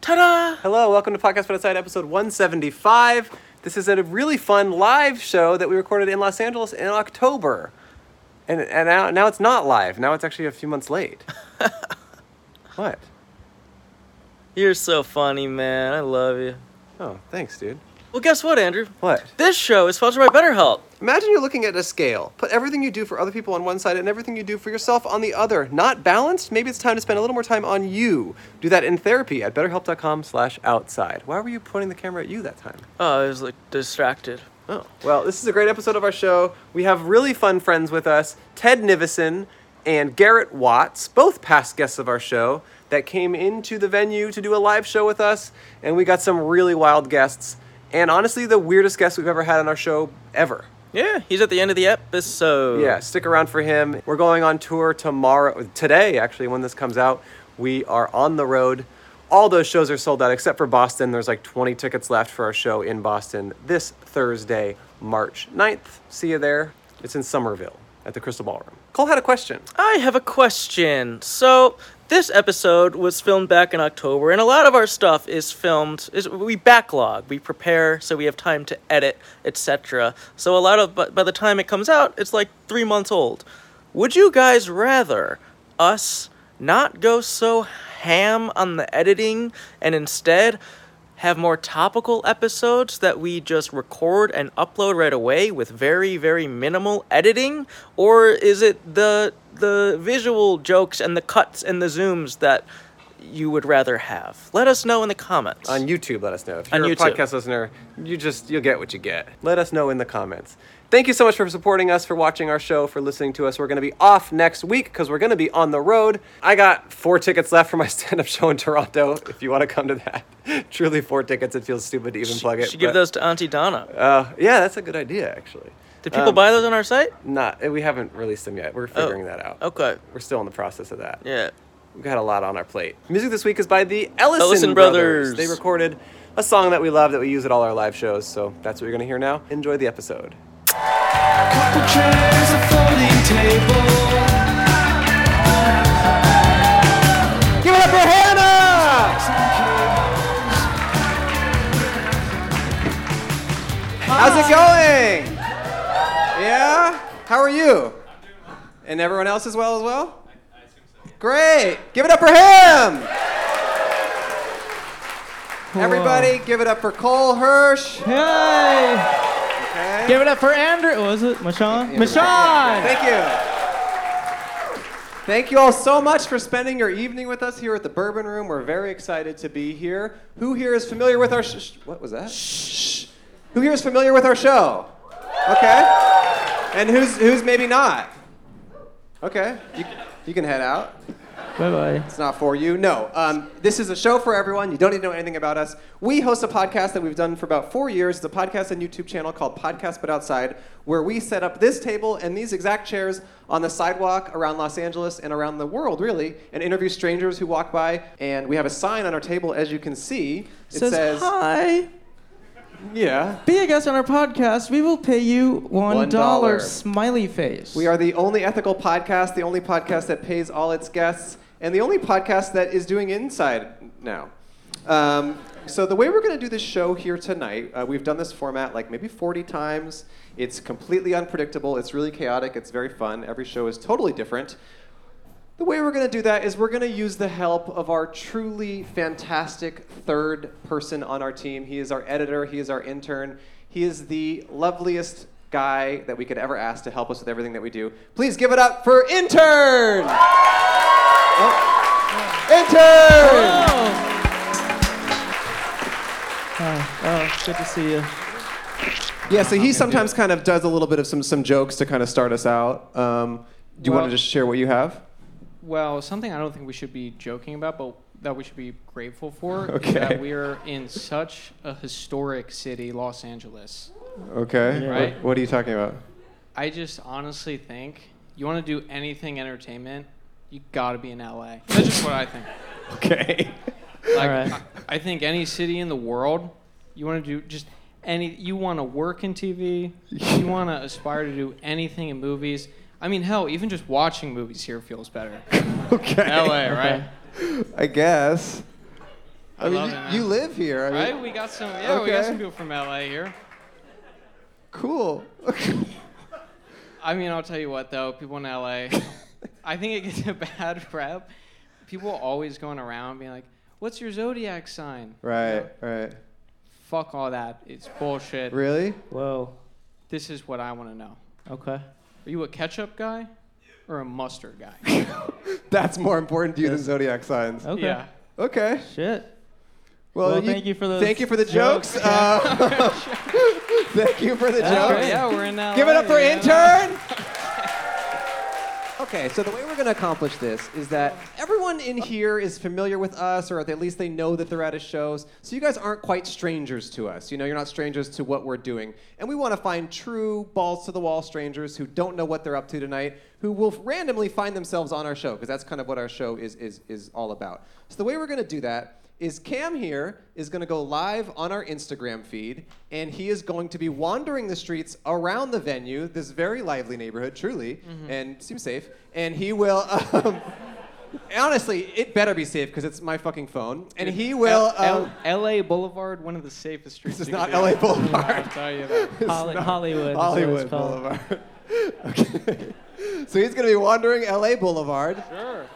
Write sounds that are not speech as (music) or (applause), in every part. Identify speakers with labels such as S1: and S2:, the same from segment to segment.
S1: Ta-da!
S2: Hello, welcome to Podcast But Outside, episode 175. This is a really fun live show that we recorded in Los Angeles in October. And, and now, now it's not live. Now it's actually a few months late. what?
S1: You're so funny, man. I love you.
S2: Oh, thanks, dude.
S1: Well, guess what, Andrew?
S2: What?
S1: This show is sponsored by BetterHelp.
S2: Imagine you're looking at a scale. Put everything you do for other people on one side and everything you do for yourself on the other. Not balanced? Maybe it's time to spend a little more time on you. Do that in therapy at betterhelp.com slash outside. Why were you pointing the camera at you that time?
S1: Oh, I was like distracted.
S2: Oh. Well, this is a great episode of our show. We have really fun friends with us Ted Nivison and Garrett Watts, both past guests of our show, that came into the venue to do a live show with us. And we got some really wild guests. And honestly, the weirdest guest we've ever had on our show ever.
S1: Yeah, he's at the end of the episode.
S2: Yeah, stick around for him. We're going on tour tomorrow, today actually, when this comes out. We are on the road. All those shows are sold out except for Boston. There's like 20 tickets left for our show in Boston this Thursday, March 9th. See you there. It's in Somerville at the Crystal Ballroom. Cole had a question.
S1: I have a question. So, this episode was filmed back in October, and a lot of our stuff is filmed. Is we backlog, we prepare, so we have time to edit, etc. So a lot of, but by the time it comes out, it's like three months old. Would you guys rather us not go so ham on the editing and instead have more topical episodes that we just record and upload right away with very very minimal editing or is it the the visual jokes and the cuts and the zooms that you would rather have let us know in the comments
S2: on YouTube. Let us know if
S1: On
S2: you're a
S1: YouTube.
S2: podcast listener. You just you'll get what you get. Let us know in the comments. Thank you so much for supporting us, for watching our show, for listening to us. We're going to be off next week because we're going to be on the road. I got four tickets left for my (laughs) stand-up show in Toronto. If you want to come to that, (laughs) truly four tickets. It feels stupid to even plug it.
S1: should give
S2: but,
S1: those to auntie donna
S2: Uh, yeah, that's a good idea actually. Um,
S1: did people buy those on our site
S2: Not uh, we haven't released them yet. We're figuring that out.
S1: Oh, okay
S2: We're still in the process of that.
S1: yeah
S2: We've got a lot on our plate. Music this week is by the Ellison,
S1: Ellison
S2: Brothers.
S1: Brothers.
S2: They recorded a song that we love that we use at all our live shows, so that's what you're going to hear now. Enjoy the episode.
S3: Couple chairs, a folding table.
S2: Give it up for Hannah! How's it going? Yeah? How are you? And everyone else as well as well? Great. Give it up for him. Everybody, give it up for Cole Hirsch.
S4: Hey!
S2: Okay.
S4: Give it up for Andrew. What was it? Mashawn? Mashawn!
S2: Thank you. Thank you all so much for spending your evening with us here at the Bourbon Room. We're very excited to be here. Who here is familiar with our sh- sh- what was that? Shh. Who here is familiar with our show? Okay. And who's who's maybe not? Okay. You, you can head out.
S4: Bye bye.
S2: It's not for you. No. Um, this is a show for everyone. You don't need to know anything about us. We host a podcast that we've done for about four years. It's a podcast and YouTube channel called Podcast But Outside, where we set up this table and these exact chairs on the sidewalk around Los Angeles and around the world, really, and interview strangers who walk by. And we have a sign on our table, as you can see. It
S4: Says, hi.
S2: Yeah.
S4: Be a guest on our podcast. We will pay you one,
S2: One dollar.
S4: dollar. Smiley face.
S2: We are the only ethical podcast, the only podcast that pays all its guests, and the only podcast that is doing inside now. Um, so the way we're going to do this show here tonight, uh, we've done this format like maybe 40 times. It's completely unpredictable. It's really chaotic. It's very fun. Every show is totally different. The way we're going to do that is we're going to use the help of
S1: (laughs)
S2: our truly fantastic third person on our team. He is our editor, he is our intern, he is the loveliest guy that we could ever ask to help us with everything that we do. Please give it up for intern! Oh. Intern!
S4: Oh. Oh, oh, good to see you.
S2: Yeah, so he sometimes kind of does a little bit of some, some jokes to kind of start us out. Um, do you want
S5: Well-
S2: to just share what you have?
S5: Well, something I don't think we should be joking about, but that we should be grateful
S2: (laughs)
S5: for
S2: Okay.
S5: is that we are in such a historic city, Los Angeles.
S2: Okay.
S5: Right.
S2: What, what are you talking about?
S5: I just honestly think you want to do anything entertainment, you got to be in LA. That's just what I think.
S2: Okay.
S5: Like,
S4: Alright.
S5: I, I think any city in the world, you want to do just any. You want to work in TV. You want to aspire to do anything in movies. I mean, hell, even just watching movies here feels better.
S2: (laughs) okay.
S5: LA, right?
S2: I guess. I, mean,
S5: love
S2: you,
S5: it, man.
S2: you live here. I mean,
S5: Right? We got some. Yeah, we got
S2: Okay.
S5: some people from LA here.
S2: Cool.
S5: I mean, I'll tell you what though, people in
S2: (laughs)
S5: LA, I think it gets a bad rep. People always going around being like, "What's your zodiac sign?"
S2: right. Right.
S5: Fuck all that. It's bullshit.
S2: Really?
S4: Whoa.
S5: This is what I want to know.
S4: Okay.
S5: Are you a ketchup guy or a mustard guy?
S2: (laughs) That's more important to you than zodiac signs.
S4: Okay.
S5: Yeah.
S2: Okay.
S4: Shit.
S2: Well,
S4: Well, thank you for those
S2: Thank you for the jokes.
S4: jokes.
S2: Uh, (laughs) thank you for the
S5: Oh,
S2: jokes.
S5: yeah, we're in LA.
S2: Give it up for
S5: man.
S2: intern. (laughs) Okay, so the way we're going to accomplish this is that everyone in here is familiar with us, or at least they know that they're at a shows. So you guys aren't quite strangers to us. You know, you're not strangers to what we're doing. And we want to find true balls to the wall strangers who don't know what they're up to tonight, who will randomly find themselves on our show, because that's kind of what our show is, is, is all about. So the way we're going to do that is Cam here is going to go live on our Instagram feed, and he is going to be wandering the streets around the venue, this very lively neighborhood, truly,
S5: Mm-hmm.
S2: and seems safe. And he will, (laughs) um, honestly, it better be safe because it's my fucking phone. And he will.
S5: L-
S2: um,
S5: L- LA Boulevard, one of the safest streets.
S2: (laughs) this is
S5: you
S2: not
S5: could
S2: LA
S5: be on.
S2: Boulevard.
S5: (laughs) I'll tell you
S2: (laughs)
S5: that.
S4: Holly- Hollywood. is what it's
S2: Hollywood
S4: called.
S2: Boulevard. (laughs) okay. (laughs) So he's gonna be wandering LA Boulevard.
S5: Sure.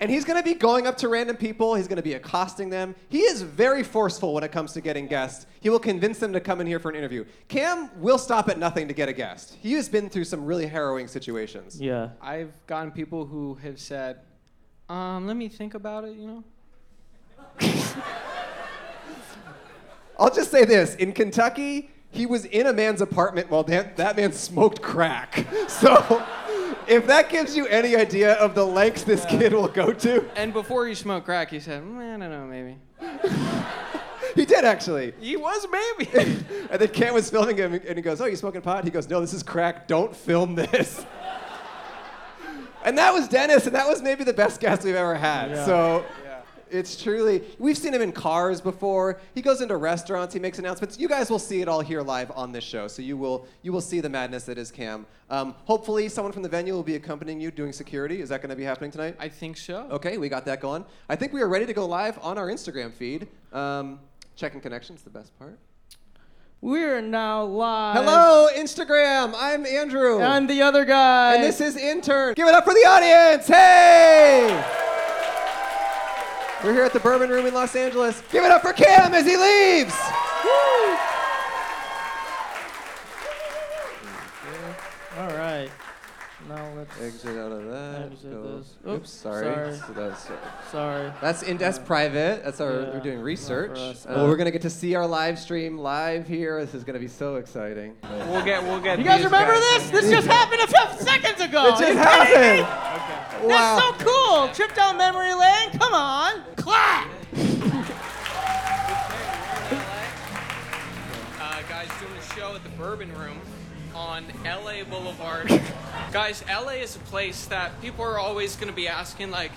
S2: And he's going to be going up to random people. He's going to be accosting them. He is very forceful when it comes to getting guests. He will convince them to come in here for an interview. Cam will stop at nothing to get a guest. He has been through some really harrowing situations.
S4: Yeah.
S5: I've gotten people who have said, um, let me think about it, you know?
S2: I'll just say this in Kentucky, he was in a man's apartment while that, that man smoked crack. (laughs) So if that gives you any idea of the lengths this kid will go to,
S5: And before you smoke crack, he said, mm, I don't know, maybe.
S2: he did actually.
S5: He was maybe.
S2: (laughs) And then Cam was filming him, and he goes, "Oh, you smoking pot?" He goes, "No, this is crack. Don't film this." (laughs) and that was Dennis, and that was maybe the best guest we've ever had. So. It's truly, we've seen him in cars before. He goes into restaurants, he makes announcements. You guys will see it all here live on this show, so you will you will see the madness that is Cam. Um, hopefully, someone from the venue will be accompanying you doing security. Is that going to be happening tonight?
S5: I think so.
S2: Okay, we got that going. I think we are ready to go live on our Instagram feed. Um, checking connections, the best part.
S4: We're now live.
S2: Hello, Instagram. I'm Andrew.
S4: I'm the other guy.
S2: and this is Intern. Give it up for the audience. Hey! We're here at the Bourbon Room in Los Angeles. Give it up for Cam as he leaves.
S4: All right. Now let's.
S2: Exit out of that.
S4: Exit
S2: Go-
S4: this.
S2: Oops,
S4: Oops,
S2: sorry.
S4: sorry.
S2: So that's,
S4: Sorry.
S2: that's in that's private. That's our
S4: Yeah,
S2: we're doing
S4: not for
S2: research.
S4: us.
S2: Uh, we're gonna get to see our live stream live here. This is gonna be so exciting.
S5: We'll get, we'll get.
S4: You guys
S5: these
S4: remember
S5: guys.
S4: this? This just happened a few seconds ago.
S2: It just
S4: That's
S2: happened. Wow.
S4: so cool. Trip down memory lane. Come on. Clap.
S5: Uh, guys doing a show at the Bourbon Room on LA Boulevard. guys, LA is a place that people are always going to be asking, like,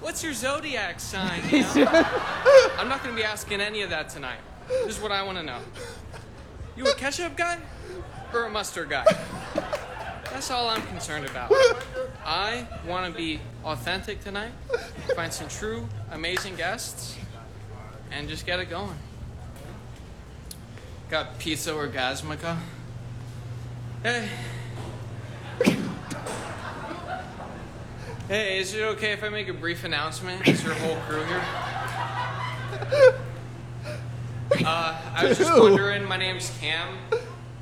S5: what's your zodiac sign? you know? I'm not going to be asking any of that tonight. This is what I want to know. You a ketchup guy or a mustard guy? That's all I'm concerned about. I want to be authentic tonight, find some true, amazing guests, and just get it going. Got pizza orgasmica. Hey. hey, is it okay if I make a brief announcement? Is your whole crew here? Uh, I was just
S2: Ew.
S5: wondering, my name's Cam.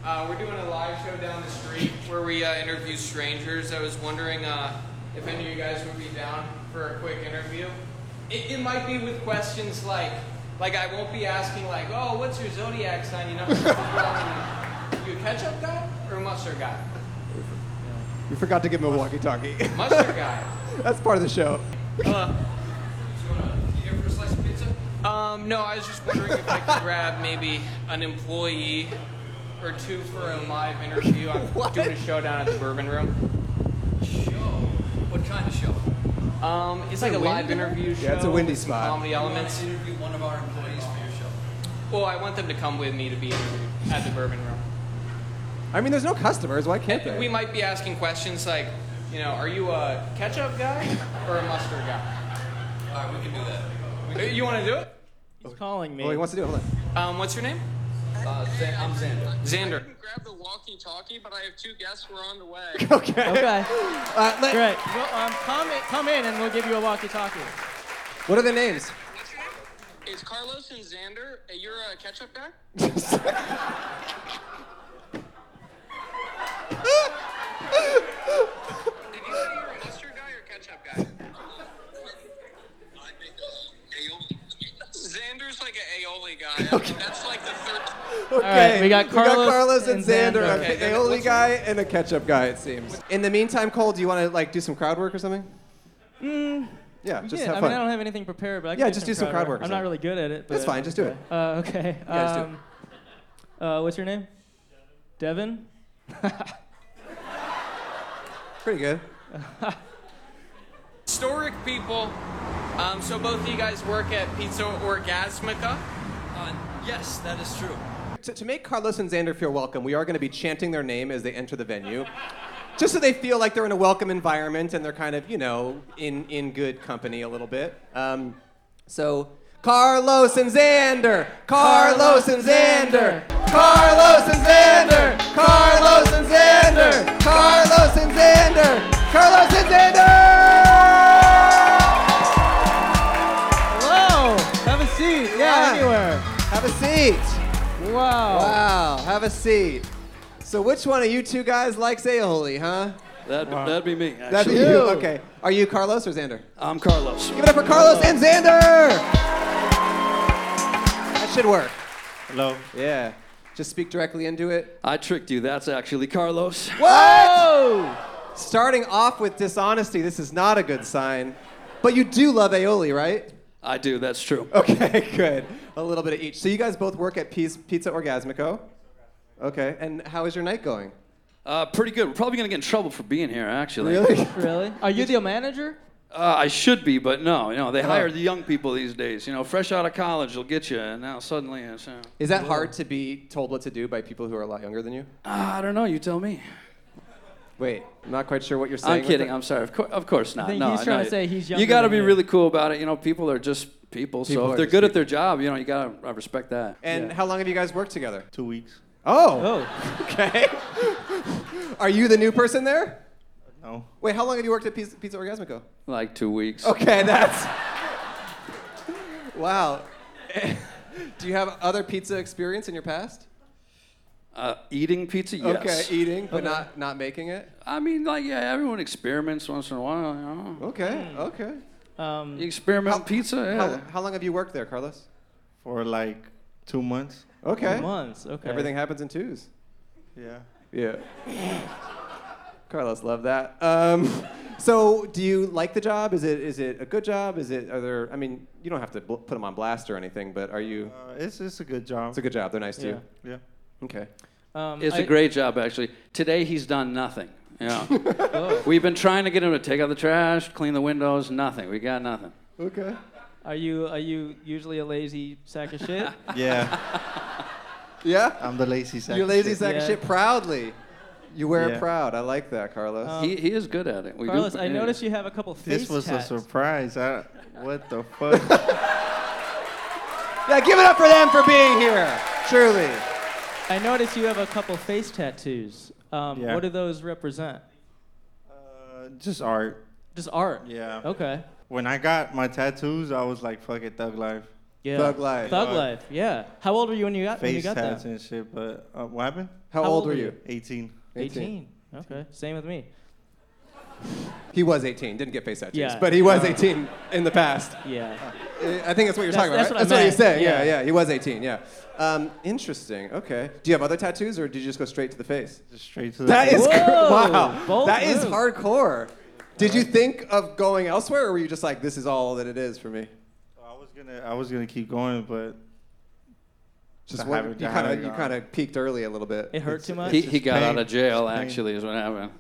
S5: Uh, we're doing a live show down the street where we uh, interview strangers. I was wondering uh, if any of you guys would be down for a quick interview. It, it might be with questions like, like I won't be asking like, oh, what's your zodiac sign? You know, (laughs) you a ketchup guy or a mustard guy?
S2: You forgot to give him a walkie-talkie.
S5: Mustard (laughs) guy.
S2: (laughs) That's part of the show.
S5: Hello. You here for a slice of pizza? Um, no, I was just wondering if I could grab maybe an employee or two for a live
S2: (laughs)
S5: interview. I'm uh, doing a show down at the Bourbon Room. Show? What kind of show? Um, it's like a live interview show.
S2: Yeah, it's a windy
S5: with some
S2: spot.
S5: Comedy elements.
S6: interview one of our employees for your show.
S5: Well, I want them to come with me to be interviewed at the Bourbon Room.
S2: I mean, there's no customers. Why can't they?
S5: We might be asking questions like, you know, are you a ketchup guy or a mustard guy?
S6: All right, we can do that.
S5: You want to do it?
S1: He's calling me.
S2: Oh, he wants to do it. Hold on.
S5: Um, what's your name?
S6: Uh, Zan- I'm Xander.
S5: Xander.
S7: grab the walkie-talkie, but I have two guests who are on the
S2: (laughs)
S7: way.
S1: okay.
S2: Uh, let-
S1: Great. Well, um, come, in, come in and we'll give you a walkie-talkie.
S2: What are their names?
S7: Is Carlos and Xander? uh, You're a ketchup guy. Did you say you're a mustard guy or ketchup guy? I make a aioli. Xander's like an aioli guy. That's like the third.
S2: Okay.
S1: right, we got Carlos
S2: and
S1: and
S2: Xander,
S1: Xander.
S2: a
S5: Okay,
S2: aioli guy and a ketchup guy, it seems. In the meantime, Cole, do you want to like do some crowd work or something? Mm, Yeah, just
S1: yeah,
S2: have
S1: I
S2: fun.
S1: mean, I don't have anything prepared, but I can
S2: Yeah, just do some crowd work or
S1: I'm not
S2: something.
S1: really good at it.
S2: That's
S1: but-
S2: fine, just do it.
S1: (laughs) Uh, okay.
S2: Yeah, just do it.
S1: um, uh, what's your name? Devin.
S2: (laughs) Pretty good.
S5: (laughs) Historic people. Um, so both of you guys work at Pizza Orgasmica.
S6: Uh, yes, that is true.
S2: To, to make Carlos and Xander feel welcome, we are going to be chanting their name as they enter the venue, just so they feel like they're in a welcome environment and they're kind of, you know, in, in good company a little bit. Um, so, Carlos and Xander, Carlos and Xander, Carlos and Xander, Carlos and Xander, Carlos and Xander, Carlos and Xander!
S1: Hello. Have a seat. Yeah,
S2: Yeah.
S1: anywhere.
S2: Have a seat.
S1: Wow.
S2: Wow, have a seat. So, which one of you two guys likes aioli, huh?
S8: That'd, that'd be me. Actually.
S2: That's you. Okay. Are you Carlos or Xander?
S8: I'm Carlos.
S2: Give it up for Carlos and Xander! That should work.
S8: Hello.
S2: Yeah. Just speak directly into it.
S8: I tricked you. That's actually Carlos.
S2: What? Starting off with dishonesty, this is not a good sign. But you do love aioli, right?
S8: I do. That's true.
S2: Okay, (laughs) good. A little bit of each. So, you guys both work at Piz- Pizza Orgasmico. Okay. And how is your night going?
S8: Uh, pretty good. We're probably gonna get in trouble for being here. Actually.
S2: Really?
S1: Really? Are you the manager?
S8: Uh, I should be, but no. You know,
S2: Oh.
S8: they hire the young people these days. You know, fresh out of college, they'll get you, and now suddenly it's. Uh,
S2: Is that hard to be told what to do by people who are a lot younger than you?
S8: Ah, I don't know. You tell me.
S2: Wait, I'm not quite sure what you're saying.
S8: I'm
S2: with
S8: kidding.
S2: that.
S8: I'm sorry. Of, cour- of course not.
S1: think
S8: no,
S1: he's trying
S8: no.
S1: to say he's
S8: You
S1: younger
S8: got to
S1: than
S8: be
S1: you.
S8: really cool about it. You know, people are just people.
S2: People
S8: so
S2: are
S8: if they're
S2: just
S8: good at their job, you know, you got to I respect that.
S2: And how long have you guys worked together?
S9: Two weeks.
S2: Oh,
S1: Oh.
S2: (laughs) okay. are you the new person there?
S9: No.
S2: Wait, how long have you worked at Pizza, Pizza Orgasmico?
S8: Like two weeks.
S2: Okay, that's. (laughs) wow. (laughs) do you have other pizza experience in your past?
S8: (laughs) Uh, eating pizza, yes.
S2: Okay, eating, but not not making it.
S8: I mean, like, yeah, everyone experiments once in a while. You, know.
S2: Okay, okay.
S1: Um,
S8: you experiment
S2: How-
S8: with pizza, yeah.
S2: How, how long have you worked there, Carlos?
S9: For like two months.
S2: Okay.
S1: months. Okay.
S2: Everything happens in twos.
S9: Yeah.
S2: Yeah. (laughs) Carlos loved that. Um, (laughs) so, do you like the job? Is it is it a good job? Is it are there? I mean, you don't have to bl- put them on blast or anything, but are you?
S9: Uh, it's it's a good job.
S2: It's a good job. They're nice to you.
S9: yeah.
S2: Okay.
S1: Um,
S8: It's
S1: I-
S8: a great job, actually. Today, he's done nothing.
S2: (laughs)
S8: Yeah.
S2: Oh.
S8: We've been trying to get him to take out the trash, clean the windows, nothing. We got nothing.
S2: Okay.
S1: Are you are you usually a lazy sack of shit?
S2: (laughs)
S9: Yeah.
S2: Yeah.
S9: I'm the lazy sack.
S2: You're
S9: of
S2: lazy
S9: shit.
S2: sack of
S1: Yeah.
S2: shit proudly. You wear it
S9: Yeah.
S2: proud. I like that, Carlos.
S8: he, he is good at it. We do-
S1: Carlos, I
S8: yeah.
S1: noticed you have Um, a couple face
S9: This was
S1: tats.
S9: a surprise. I, what the
S2: (laughs)
S9: fuck?
S2: yeah, give it up for them for being here. Truly.
S1: I noticed you have a couple face tattoos. Um,
S9: Yeah.
S1: What do those represent?
S9: uh, just art.
S1: Just art.
S9: Yeah.
S1: Okay.
S9: When I got my tattoos, I was like, fuck it, thug life.
S1: Yeah.
S2: Thug life.
S1: Thug
S9: Thug.
S1: life. Yeah. How old were you when you got when you
S9: Face
S1: got
S9: tats
S1: that?
S9: and shit. But uh, what happened?
S2: How, old were you?
S9: 18.
S1: 18. Okay. Same with me.
S2: He was 18. Didn't get face tattoos,
S1: Yeah.
S2: but he was 18 in the past.
S1: Yeah.
S2: Uh, I think that's what you're
S1: That's-
S2: talking
S1: that's what I
S2: about. right? that's what
S1: meant,
S2: he's saying. Yeah. yeah,
S1: yeah.
S2: He was 18. Yeah. Um, interesting. Okay. Do you have other tattoos, or did you just go straight to the face?
S9: Just straight to the.
S2: That is
S1: Whoa,
S2: cr- wow.
S1: bold
S2: That is
S1: move.
S2: hardcore. Did you think of going elsewhere, or were you just like, "This is all that it is for me"?
S9: I was gonna. I was gonna keep going, but
S2: Just
S9: To
S2: one-
S9: have it-
S2: you
S9: to
S2: kind
S9: have
S2: of
S9: it
S2: you
S9: gone.
S2: kind of peaked early a little bit.
S1: It hurt too much.
S8: He, he got
S9: pain.
S8: out of jail,
S9: It's pain.
S8: actually, is what happened.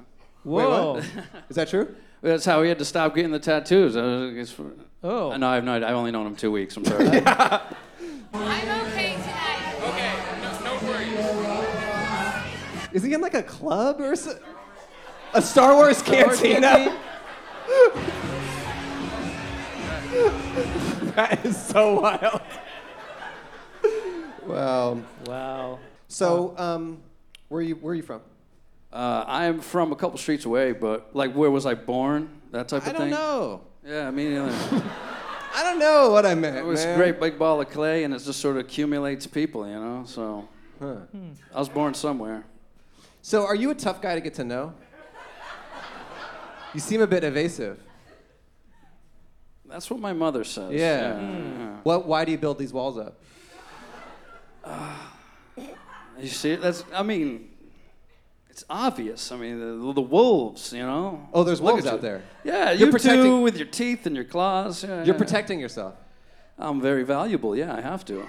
S1: Whoa.
S2: Wait, Is that true?
S8: That's how he had to stop getting the tattoos. I was- it's for-
S1: Oh.
S8: No, I've, not, I've only known him two weeks. I'm
S2: (laughs)
S8: sorry.
S10: I'm okay tonight.
S5: Okay, no, no worries.
S2: Is he in like a club or so- a Star Wars (laughs) cantina? that is so wild. (laughs) Wow.
S1: Wow.
S2: So, um, where are you where are you from?
S8: Uh, I am from a couple streets away, but like, where was I born? That type of
S2: I
S8: thing.
S2: don't know.
S8: Yeah, me
S2: (laughs)
S8: neither.
S2: I don't know what I meant.
S8: it was a
S2: man.
S8: great big ball of clay, and it just sort of accumulates people, you know. So, I was born somewhere.
S2: So, are you a tough guy to get to know? You seem a bit evasive. Uh,
S8: That's what my mother says.
S2: Yeah. Mm.
S8: yeah.
S2: What? Why do you build these walls up?
S8: (sighs) You see, that's. I mean, it's obvious. I mean, the, the wolves. You know.
S2: Oh, there's
S8: Look
S2: wolves
S8: at
S2: out
S8: you.
S2: there.
S8: Yeah,
S2: You're
S8: you
S2: protecting-
S8: too, with your teeth and your claws. Yeah,
S2: You're
S8: yeah.
S2: protecting yourself.
S8: I'm very valuable. Yeah, I have to.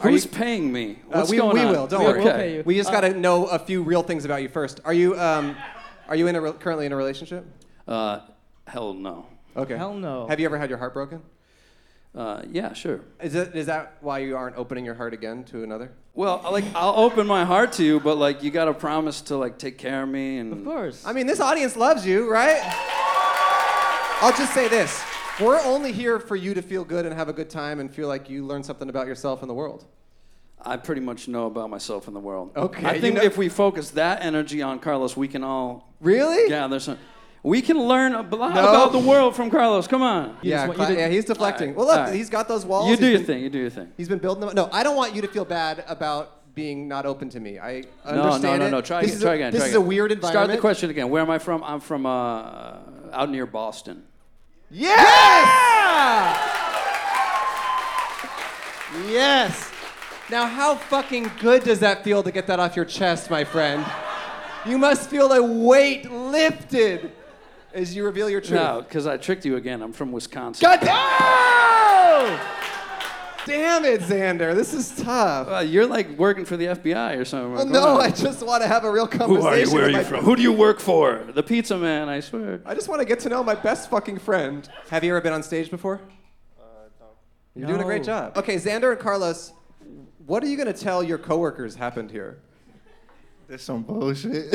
S8: Who's paying me?
S2: Hmm. Uh,
S8: What's
S2: we,
S8: going
S2: we
S8: on?
S2: will. Don't
S8: Okay.
S2: worry. We just got to know a few real things about you first. Are you um, are you in a re- currently in a relationship?
S8: Uh, hell no.
S2: Okay.
S1: Hell no.
S2: Have you ever had your heart broken?
S8: Uh, yeah, sure.
S2: Is it is that why you aren't opening your heart again to another?
S8: Well, like I'll open my heart to you, but like you gotta promise to like take care of me and.
S1: Of course.
S2: I mean, this audience loves you, right? I'll just say this: we're only here for you to feel good and have a good time and feel like you learned something about yourself and the world.
S8: I pretty much know about myself and the world.
S2: Okay,
S8: I
S2: you
S8: think
S2: know-
S8: if we focus that energy on Carlos, we can all.
S2: Really?
S8: Yeah, there's some. We can learn a lot
S2: No.
S8: about the world from Carlos. Come on.
S2: yeah,
S1: want- you
S2: Cla-
S1: didn't-
S2: yeah, he's
S8: All
S2: deflecting.
S8: right,
S2: Well, look,
S8: all right.
S2: he's got those walls.
S8: You do
S2: he's
S8: your
S2: been-
S8: thing. You do your thing.
S2: He's been building them. No, I don't want you to feel bad about being not open to me. I
S8: No,
S2: understand
S8: no, no,
S2: it.
S8: no. Try
S2: this
S8: again.
S2: is
S8: Try
S2: a,
S8: again.
S2: This
S8: try
S2: is a
S8: again.
S2: weird environment.
S8: Start the question again. Where am I from? I'm from uh, out near Boston.
S2: Yes! Yes. Now, how fucking good does that feel to get that off your chest, my friend? You must feel a weight lifted as you reveal your truth.
S8: No, because I tricked you again. I'm from Wisconsin.
S2: God damn! Damn it, Xander. This is tough.
S8: Uh, you're like working for the FBI or something.
S2: Well,
S8: Come
S2: Oh, no,
S8: on.
S2: I just want to have a real conversation.
S8: Who are you? Where are
S2: with
S8: you
S2: my-
S8: from? Who do you work for? The pizza man, I swear.
S2: I just want to get to know my best fucking friend. Have you ever been on stage before? Uh, You're doing a great
S1: No.
S2: job. Okay, Xander and Carlos, what are you going to tell your coworkers happened here?
S9: There's some
S2: (laughs)
S9: bullshit.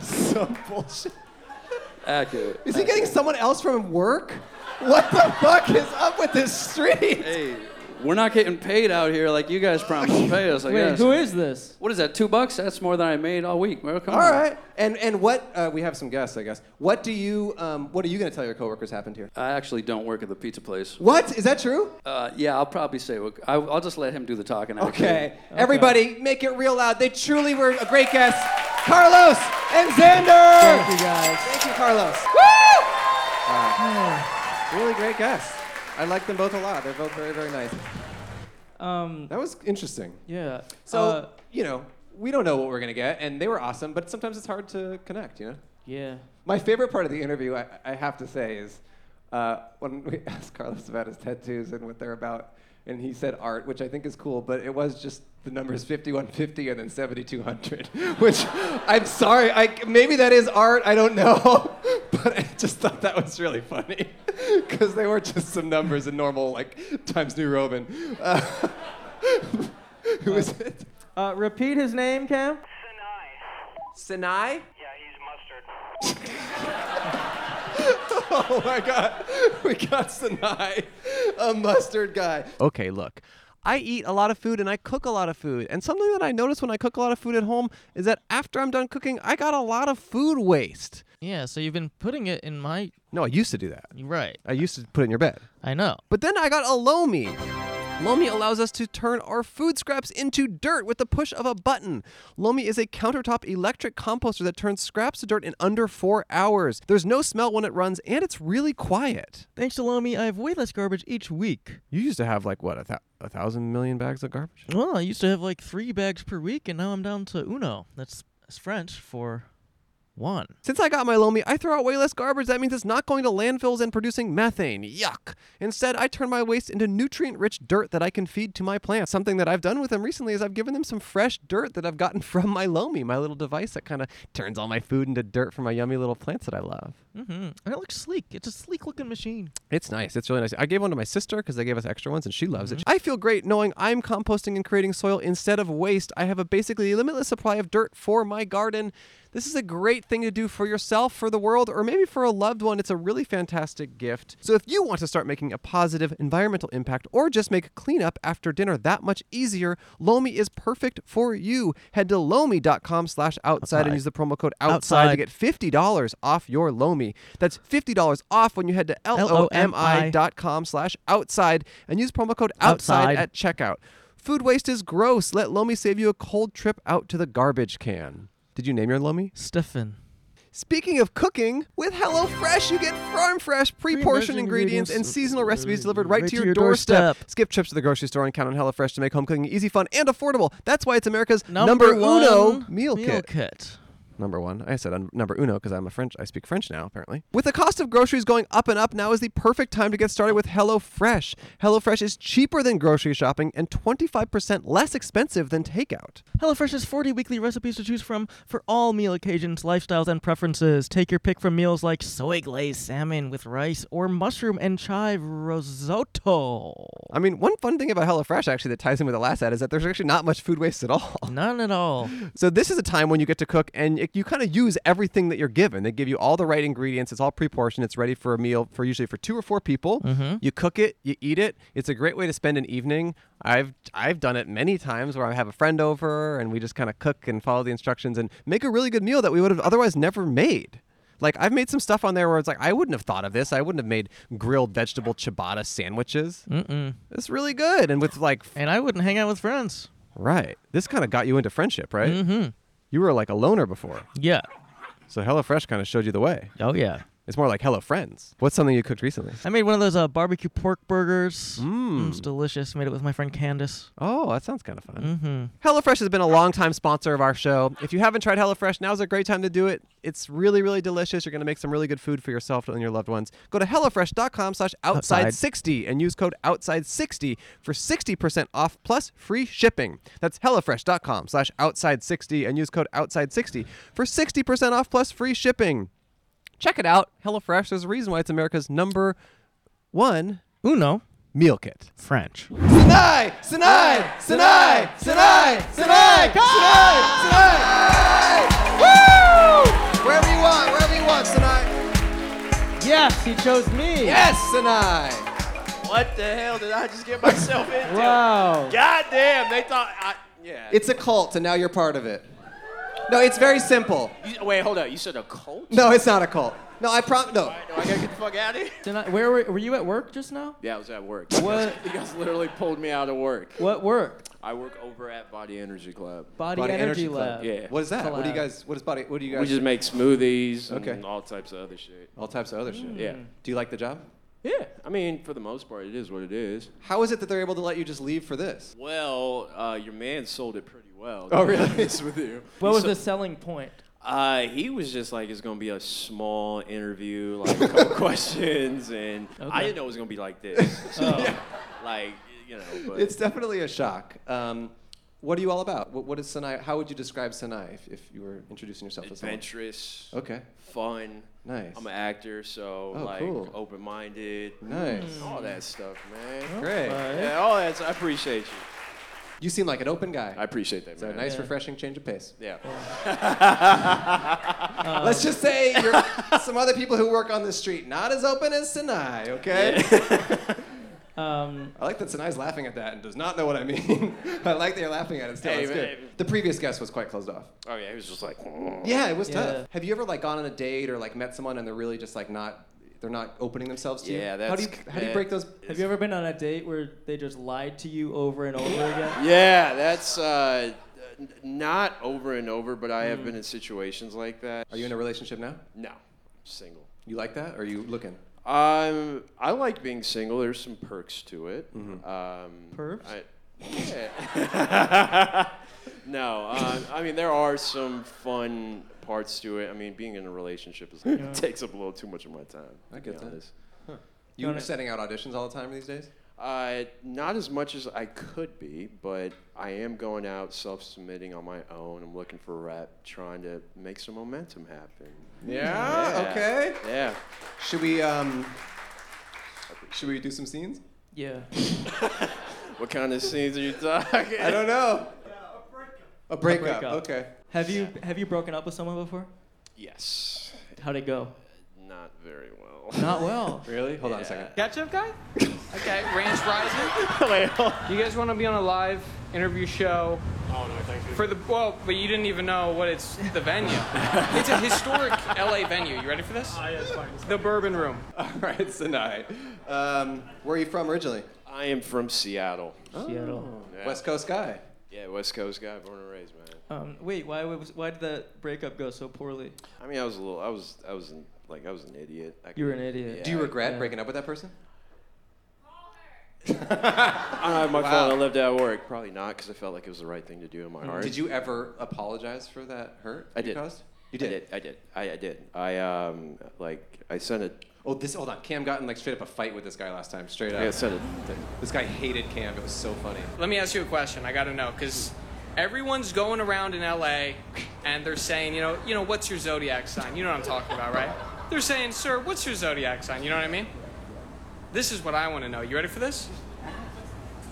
S2: Some bullshit.
S8: Accurate.
S2: Is he getting someone else from work? What the fuck is up with this street?
S8: Hey, we're not getting paid out here like you guys promised to pay us. I
S1: Wait,
S8: guess.
S1: who is this?
S8: What is that? Two bucks? That's more than I made all week. Well, come
S2: All
S8: on.
S2: right, and and what uh, we have some guests, I guess. What do you um, what are you going to tell your coworkers happened here?
S8: I actually don't work at the pizza place.
S2: What is that true?
S8: Uh, yeah, I'll probably say. I, I'll just let him do the talking. actually.
S2: Okay. Everybody, make it real loud. They truly were a great guest. Carlos and Xander.
S1: Thank you guys.
S2: Thank you, Carlos. Woo! really great guests. I like them both a lot. They're both very, very nice.
S1: Um,
S2: That was interesting.
S1: yeah.
S2: So,
S1: uh,
S2: you know, we don't know what we're going to get, and they were awesome, but sometimes it's hard to connect, you know?
S1: yeah.
S2: My favorite part of the interview, I, I have to say, is uh, when we (laughs) asked Carlos about his tattoos and what they're about, and he said art, which I think is cool, but it was just the numbers 5150 and then 7200, (laughs) which I'm sorry, I, maybe that is art, I don't know, (laughs) but I just thought that was really funny (laughs) because they were just some numbers in normal, like Times New Roman. (laughs) Uh, who is it?
S1: (laughs) Uh, repeat his name, Cam.
S2: Sinai?
S7: Yeah, he's mustard.
S2: (laughs) Oh my god, we got Sinai, a mustard guy. Okay, look. I eat a lot of food and I cook a lot of food. And something that I notice when I cook a lot of food at home is that after I'm done cooking, I got a lot of food waste.
S11: Yeah, so you've been putting it in my
S2: No, I used to do that.
S11: right.
S2: I used to put it in your bed.
S11: I know.
S2: But then I got a Lomi. Lomi allows us to turn our food scraps into dirt with the push of a button. Lomi is a countertop electric composter that turns scraps to dirt in under four hours. There's no smell when it runs, and it's really quiet.
S11: Thanks to Lomi, I have way less garbage each week.
S2: You used to have like what a, thou- a thousand million bags of garbage.
S11: Well, I used to have like three bags per week, and now I'm down to uno. That's, that's French for one.
S2: Since I got my Lomi, I throw out way less garbage. That means it's not going to landfills and producing methane. Yuck. Instead, I turn my waste into nutrient-rich dirt that I can feed to my plants. Something that I've done with them recently is I've given them some fresh dirt that I've gotten (laughs) from my Lomi, my little device that kind of turns all my food into dirt for my yummy little plants that I love.
S11: Mm-hmm. And it looks sleek. It's a sleek looking machine.
S2: It's nice. It's really nice. I gave one to my sister because they gave us extra ones and she loves it. (laughs) I feel great knowing I'm composting and creating soil instead of waste. I have a basically limitless supply of dirt for my garden. This is a great thing to do for yourself, for the world, or maybe for a loved one. It's a really fantastic gift. So if you want to start making a positive environmental impact or just make cleanup after dinner that much easier, Lomi is perfect for you. Head to lomi.com slash outside and use the promo code outside, to
S11: Outside.
S2: get $50 off your Lomi. That's $50 off when you head to L-O-M-I dot com slash outside and use promo code
S11: Outside.
S2: outside, at checkout. Food waste is gross. Let Lomi save you a cold trip out to the garbage can. Did you name your Lomi?
S11: Stefan.
S2: Speaking of cooking, with HelloFresh you get farm fresh, pre-portioned
S11: ingredients,
S2: ingredients, and seasonal recipes delivered right,
S11: right
S2: to your, doorstep. Skip trips to the grocery store and count on HelloFresh to make home cooking easy, fun, and affordable. That's why it's America's number, uno
S11: one
S2: meal, kit. Number one. I said un- number uno because I'm a French. I speak French now, apparently. With the cost of groceries going up and up, now is the perfect time to get started with HelloFresh. HelloFresh is cheaper than grocery shopping and 25% less expensive than takeout.
S11: HelloFresh has 40 weekly recipes to choose from for all meal occasions, lifestyles, and preferences. Take your pick from meals like soy glazed salmon with rice or mushroom and chive risotto.
S2: I mean, one fun thing about HelloFresh actually that ties in with the last ad is that there's actually not much food waste at all. (laughs)
S11: None at all.
S2: So this is a time when you get to cook and it, you kind of use everything that you're given. They give you all the right ingredients. It's all pre-portioned. It's ready for a meal for usually for two or four people.
S11: Mhm.
S2: You cook it, you eat it. It's a great way to spend an evening. I've I've done it many times where I have a friend over and we just kind of cook and follow the instructions and make a really good meal that we would have otherwise never made. Like I've made some stuff on there where it's like I wouldn't have thought of this. I wouldn't have made grilled vegetable ciabatta sandwiches.
S11: Mm-mm.
S2: It's really good and with like
S11: And I wouldn't hang out with friends.
S2: Right. This kind of got you into friendship, right? Mm-hmm. You were like a loner before.
S11: Yeah.
S2: So HelloFresh kind of showed you the way.
S11: Oh yeah.
S2: It's more like Hello Friends. What's something you cooked recently?
S11: I made one of those uh, barbecue pork burgers. Mm. It's delicious. Made it with my friend Candace.
S2: Mmm. Oh, that sounds kind of fun.
S11: Mm-hmm.
S2: HelloFresh has been a longtime sponsor of our show. If you haven't tried HelloFresh, now's a great time to do it. It's really, really delicious. You're going to make some really good food for yourself and your loved ones. Go to HelloFresh.com slash outside60 and use code outside60 for 60% off plus free shipping. That's HelloFresh.com slash outside60 and use code outside60 for 60% off plus free shipping. Check it out. HelloFresh. There's a reason why it's America's number one
S11: Uno
S2: meal kit.
S11: French.
S2: Sinai! Sinai! Sinai! Sinai! Sinai! Sinai! Sinai! Woo! Wherever you want, wherever you want, Sinai.
S1: Yes, he chose me.
S2: Yes, Sinai.
S4: What the hell did I just get myself into?
S1: Wow.
S4: God damn, they thought I. Yeah.
S2: It's a cult, and now you're part of it. No, it's very simple.
S4: You- wait, hold up. You said a cult?
S2: No, it's not a cult. No, I prom. No.
S4: No, I gotta get the fuck out of here.
S1: Tonight, where were, were you at work just now?
S6: Yeah, I was at work. (laughs)
S1: What?
S6: You guys literally pulled me out of work.
S1: What work?
S6: I work over at Body Energy Club.
S1: Body, Energy, Lab.
S6: Yeah.
S2: What is that? What do you
S1: Collab.
S2: guys? What is body? What do you guys?
S6: We just make smoothies
S2: Okay.
S6: and all types of other shit. Mm.
S2: all types of other shit.
S6: Yeah.
S2: Do you like the job?
S6: Yeah. I mean, for the most part, it is what it is.
S2: How is it that they're able to let you just leave for this?
S6: Well, uh, your man sold it pretty well. (laughs)
S2: Oh,
S6: to be
S2: really?
S6: honest with you.
S1: What
S6: He
S1: was
S6: so-
S1: the selling point?
S6: Uh, he was just like, it's gonna be a small interview, like a
S2: (laughs)
S6: couple questions, and I
S1: Okay. Oh.
S6: didn't know it was gonna be like this.
S1: (laughs)
S6: So, (laughs) like, you know, but
S2: Oh. It's definitely a shock. Um, what are you all about? What, what is Sinai? How would you describe Sinai if, if you were introducing yourself as someone?
S6: adventurous,
S2: Okay,
S6: fun.
S2: nice.
S6: I'm an actor, so
S2: Oh,
S6: like
S2: cool.
S6: open-minded,
S2: Nice.
S6: all that stuff, man.
S2: Great.
S6: Yeah, all that. I appreciate you.
S2: You seem like an open guy.
S6: I appreciate that,
S2: so
S6: man.
S2: a nice,
S1: Yeah.
S2: refreshing change of pace.
S6: Yeah. (laughs)
S2: Let's just say you're some other people who work on the street, not as open as Sinai, okay? (laughs)
S1: Um,
S2: I like that Sinai's laughing at that and does not know what I mean. (laughs) I like that you're laughing at it still.
S6: Hey, man,
S2: That's good.
S6: hey.
S2: The previous guest was quite closed off.
S6: Oh yeah, he was just like.
S2: Yeah, it was
S1: Yeah.
S2: tough. Have you ever like gone on a date or like met someone and they're really just like not they're not opening themselves to you?
S6: Yeah,
S2: how do you
S6: that's-
S2: how do you
S6: that
S2: break those
S1: have you ever been on a date where they just lied to you over and over again?
S6: Yeah, that's uh, n- not over and over, but I have been in situations like that.
S2: Are you in a relationship now?
S6: No, I'm single.
S2: You like that? Or are you looking?
S6: Um, I like being single. There's some perks to it.
S2: Mm-hmm.
S6: Um,
S1: Perps?
S6: I, yeah. (laughs) no, uh, I mean there are some fun parts to it. I mean, being in a relationship is it takes up a little too much of my time.
S2: I
S6: to be
S2: get that.
S6: honest.
S2: You
S1: Wanna-
S2: are sending out auditions all the time these days?
S6: Uh, not as much as I could be, but I am going out self-submitting on my own. I'm looking for a rep, trying to make some momentum happen.
S2: Yeah. Okay.
S6: Yeah.
S2: Should we um should we do some scenes?
S1: Yeah.
S6: What kind of scenes are you talking?
S2: I don't know. A breakup, okay.
S1: Have you have you broken up with someone before?
S6: Yes.
S1: How'd it go?
S6: Not very well. (laughs)
S1: Not well.
S2: really? Hold on a second.
S5: Ketchup guy? Okay, Ranch
S2: (laughs)
S5: Rising. Wait, You guys want to be on a live interview show? Oh no, thank you. For the well, but you didn't even know what it's the venue. it's
S2: (laughs)
S5: a historic LA venue. You ready for this? The Bourbon Room.
S2: (laughs) All right, Sinai. Um, where are you from originally?
S6: I am from Seattle.
S1: Seattle.
S6: Yeah.
S2: West Coast guy.
S6: Yeah, West Coast guy, born and raised, man.
S1: Um, wait, why was why did that breakup go so poorly?
S6: I mean, I was a little. I was. I was an, like. I was an idiot. I
S1: You were
S6: could-
S1: an idiot.
S6: yeah,
S2: Do you
S6: I-
S2: regret
S1: yeah.
S2: breaking up with that person?
S6: I don't have Ah, my
S2: Wow. Mm.
S6: phone. I lived at work. Probably not, because I felt like it was the right thing to do in my heart.
S2: Did you ever apologize for that hurt
S6: I
S2: you
S6: did.
S2: caused? You
S6: I
S2: did.
S6: did. I did. I, I did. I um like I sent a.
S2: Oh, this. Hold on. Cam got in like straight up a fight with this guy last time. Straight up.
S6: I sent a. Thing.
S2: This guy hated Cam. It was so funny.
S5: Let me ask you a question. I got to know because everyone's going around in LA and they're saying, you know, you know, what's your zodiac sign? You know what I'm talking about, right? They're saying, sir, what's your zodiac sign? You know what I mean? This is what I want to know. You ready for this?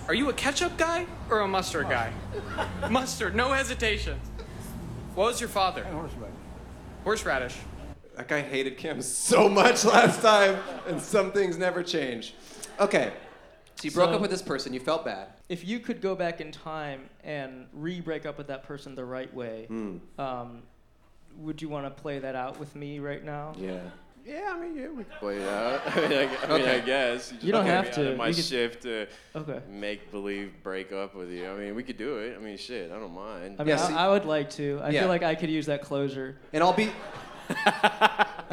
S5: Are you a ketchup guy or a mustard guy?
S1: uh,
S5: Mustard, no hesitation. What was your father? Horseradish. Horseradish.
S2: That guy hated Cam so much last time, and some things never change. Okay. So you broke
S1: So-
S2: up with this person. You felt bad.
S1: If you could go back in time and re-break up with that person the right way,
S2: Hmm.
S1: um, would you want to play that out with me right now?
S2: (laughs) Yeah.
S6: Yeah, I mean, yeah, we could play it out. (laughs) I mean, I, gu- I, mean, I
S2: Okay.
S6: guess. just
S1: You don't
S6: get me
S1: have
S6: out
S1: to.
S6: Of my
S1: You could-
S6: shift to
S1: Okay.
S6: make believe break up with you. I mean, we could do it. I mean, shit, I don't mind.
S1: I mean,
S2: Yeah, see-
S1: I, I would like to. I
S2: Yeah.
S1: feel like I could use that closure.
S2: And I'll
S1: (laughs)
S2: be. and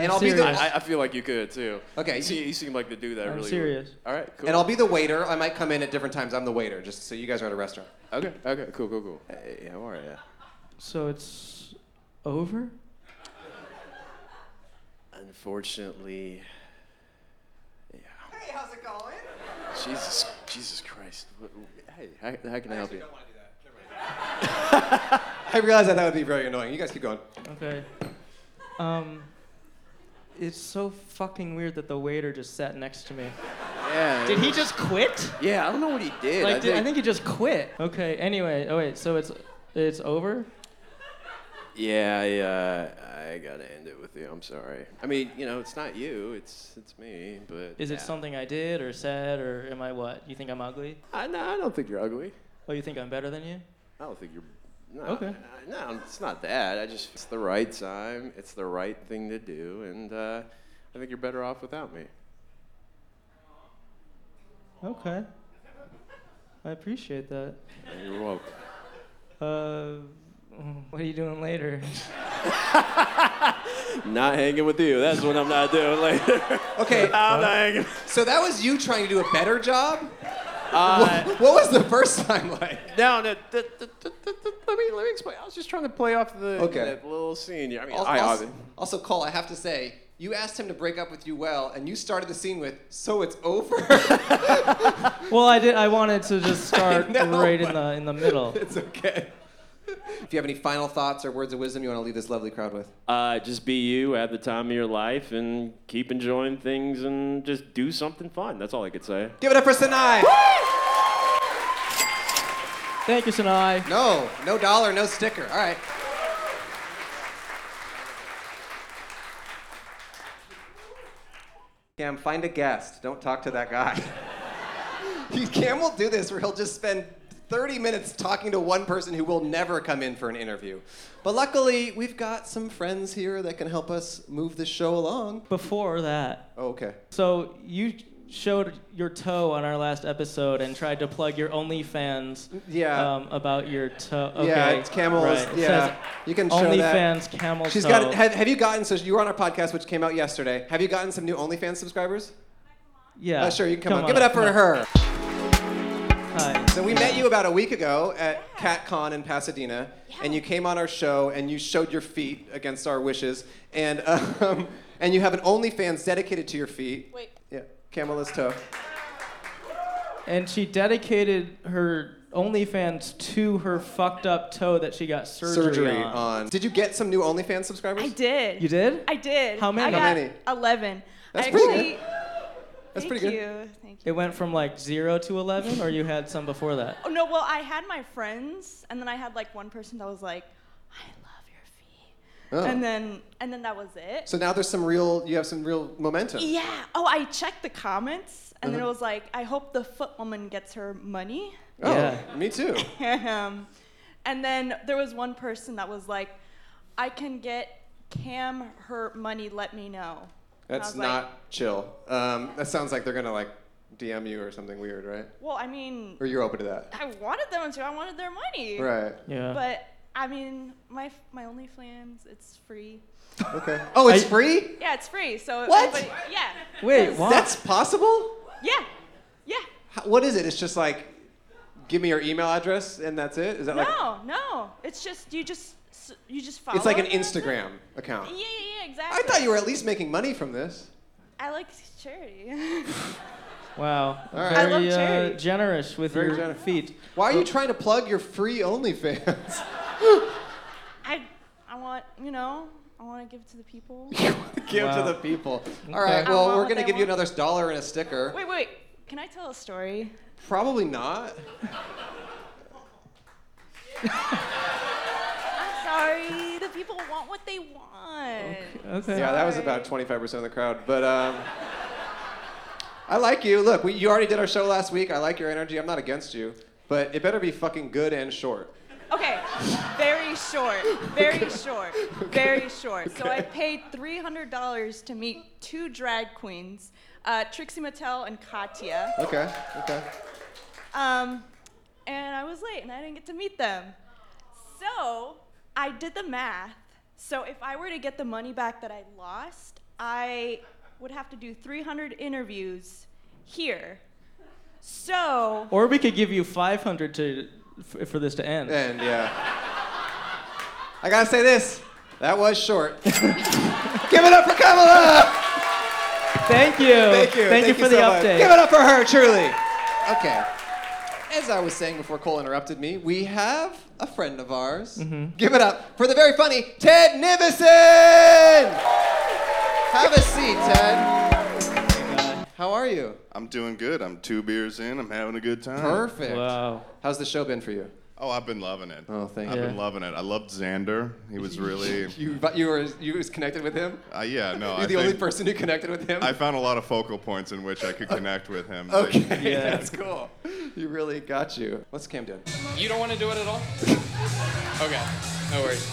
S2: I'll be
S1: serious.
S2: the.
S6: I, I feel like you could too.
S2: Okay,
S6: you, see,
S2: you-
S6: you seem like the dude that
S1: I'm
S6: really.
S1: serious.
S6: All right, cool.
S2: And I'll be the waiter. I might come in at different times. I'm the waiter, just so you guys are at a restaurant. Uh,
S6: Okay, okay, cool, cool, cool. Hey, yeah, all right, yeah.
S1: So it's over.
S6: Unfortunately, yeah.
S4: Hey, how's it going?
S6: Jesus, Jesus Christ. Wh- wh- Hey, how, how can I, help you?
S2: (laughs) I realize that that would be very annoying. You guys keep going.
S1: Okay. Um, it's so fucking weird that the waiter just sat next to me.
S6: Yeah.
S1: Did he just quit?
S6: Yeah, I don't know what he did.
S1: Like,
S6: I,
S1: did,
S6: think,
S1: I think he just quit. Okay. Anyway. Oh wait. So it's it's over.
S6: Yeah, I, uh, I gotta end it with you. I'm sorry. I mean, you know, it's not you. It's it's me. But
S1: Is
S6: yeah.
S1: it something I did or said or am I what? You think I'm ugly?
S6: I, no, I don't think you're ugly.
S1: Oh, you think I'm better than you?
S6: I don't think you're. No,
S1: Okay.
S6: No, it's not that. I just it's the right time. It's the right thing to do, and uh, I think you're better off without me.
S1: Okay. I appreciate that.
S6: You're welcome.
S1: Uh, what are you doing later? (laughs)
S6: Not hanging with you. That's what I'm not doing (laughs) later.
S2: Okay.
S6: I'm not hanging.
S2: So that was you trying to do a better job?
S6: Uh,
S2: (laughs) What was the first time like?
S6: No, no. th- th- th- th- th- let me let me explain. I was just trying to play off the
S2: Okay.
S6: that little scene. I mean,
S2: Al-
S6: I
S2: also,
S6: obvi-
S2: also, Cole, I have to say, you asked him to break up with you well, and you started the scene with, so it's over.
S1: well, I did. I wanted to
S2: (laughs)
S1: just start
S2: know,
S1: right
S2: but-
S1: in the in the middle.
S2: (laughs) it's okay. If you have any final thoughts or words of wisdom you want to leave this lovely crowd with,
S6: Uh, just be you at the time of your life and keep enjoying things and just do something fun. That's all I could say.
S2: give it up for Sinai.
S1: Thank you, Sinai.
S2: No, no dollar, no sticker. All right. Cam, find a guest. Don't talk to that guy. (laughs) He- Cam will do this where he'll just spend 30 minutes talking to one person who will never come in for an interview. But luckily, we've got some friends here that can help us move this show along.
S1: Before that,
S2: Oh, okay.
S1: so you showed your toe on our last episode and tried to plug your OnlyFans.
S2: Yeah.
S1: Um, about your toe. Okay.
S2: Yeah, it's Camel's-
S1: Right. It
S2: yeah.
S1: says
S2: You can show that.
S1: OnlyFans camel
S2: She's
S1: toe.
S2: got. Have, have you gotten? So you were on our podcast, which came out yesterday. Have you gotten some new OnlyFans subscribers?
S1: yeah.
S2: Uh, sure, you can come,
S1: Come
S2: on. Give it up for
S1: come
S2: her.
S1: Hi.
S2: So we met you about a week ago at CatCon in Pasadena, and you came on our show and you showed your feet against our wishes, and (laughs) um, and you have an OnlyFans dedicated to your feet.
S10: Wait.
S2: Yeah, Camilla's toe.
S1: And she dedicated her OnlyFans to her fucked up toe that she got surgery, on.
S2: Did you get some new OnlyFans subscribers?
S12: I did.
S1: You did?
S12: I did.
S1: How many?
S12: I
S1: How
S12: got
S2: many?
S12: Eleven.
S2: That's
S12: I
S2: pretty
S12: actually,
S2: That's
S12: thank
S2: pretty good.
S12: you. Thank Thank you.
S1: It went from like zero to 11, or you had some before that?
S12: Oh, no, well, I had my friends, and then I had like one person that was like,
S2: Oh.
S12: and then and then that was it.
S2: so now there's some real. You have some real momentum.
S12: Yeah. Oh, I checked the comments, and then it
S2: Uh-huh.
S12: was like, I hope the foot woman gets her money.
S2: Oh, me too.
S12: (laughs) um, and then there was one person that was like, I can get Cam her money. Let me know. And I
S2: That's
S12: was like,
S2: not chill. Um, that sounds like they're gonna like DM you or something weird, right?
S12: well, I mean,
S2: Or you're open to that.
S12: I wanted them to. I wanted their money.
S2: Right. Yeah.
S12: But I mean, my f- my OnlyFans, it's free.
S2: Okay. (laughs) Oh, it's
S12: I-
S2: free.
S12: Yeah, it's free. So
S2: What?
S12: anybody- yeah.
S2: Wait, what? That's possible.
S12: Yeah. Yeah.
S2: How, what is it? It's just like, give me your email address and that's it. Is that like?
S12: no, no. It's just you just s- you just follow.
S2: It's like an
S12: them, that's it.
S2: Instagram account.
S12: Yeah, yeah, yeah,
S2: I
S12: exactly.
S2: thought you were at least making money from this.
S12: I like
S2: (laughs)
S12: charity.
S1: Wow.
S2: All right. I
S1: Very
S2: love
S1: uh, Oh.
S2: charity.
S1: generous with
S2: Very
S1: your
S2: generous.
S1: feet.
S2: Why are you trying to plug your free OnlyFans? (laughs)
S12: I I want you know I want to give to the
S2: (laughs)
S12: people.
S2: give
S1: Wow.
S2: to the people. All
S1: Okay.
S2: right.
S12: I
S2: Well,
S12: want
S2: we're
S12: what
S2: gonna
S12: they
S2: give you another dollar and a sticker.
S12: wait, wait. Can I tell a story?
S2: Probably not.
S12: I'm sorry. The people want what they want.
S1: Okay.
S2: Yeah, that was about 25% of the crowd. But um, I like you. Look, we, you already did our show last week. I like your energy. I'm not against you. But it better be fucking good and short.
S12: Okay, very short, very short, very short. So I paid three hundred dollars to meet two drag queens, uh, Trixie Mattel and Katya.
S2: Okay, okay.
S12: Um, and I was late and I didn't get to meet them. So I did the math. So if I were to get the money back that I lost, I would have to do 300 interviews here. So
S1: Or we could give you 500 to f- for this to end.
S2: And yeah. I gotta say this that was
S1: (laughs)
S2: short. Give it up for Kamala!
S1: Thank you.
S2: Thank you.
S1: Thank, you for the
S2: so much.
S1: update.
S2: Give it up for her, truly. Okay. As I was saying before Cole interrupted me, we have a friend of ours.
S1: Mm-hmm.
S2: Give it up for the very funny Ted Nivison! Have a seat, Ted. How are you?
S13: I'm doing good. I'm two beers in. I'm having a good time.
S2: Perfect. Wow. How's the show been for you?
S13: Oh, I've been loving it.
S2: Oh, thank
S13: I've
S2: you.
S13: been loving it. I loved Xander. He was really.
S2: (laughs) You, but you were you was connected with him.
S13: Uh, yeah, no.
S2: You're
S13: I
S2: the only
S13: think-
S2: person who connected with him.
S13: I found a lot of focal points in which I could connect with him. (laughs)
S2: Okay, (laughs)
S13: Yeah.
S2: that's cool. You really got you. What's Cam doing?
S5: You don't want to do it at all? Okay, no worries.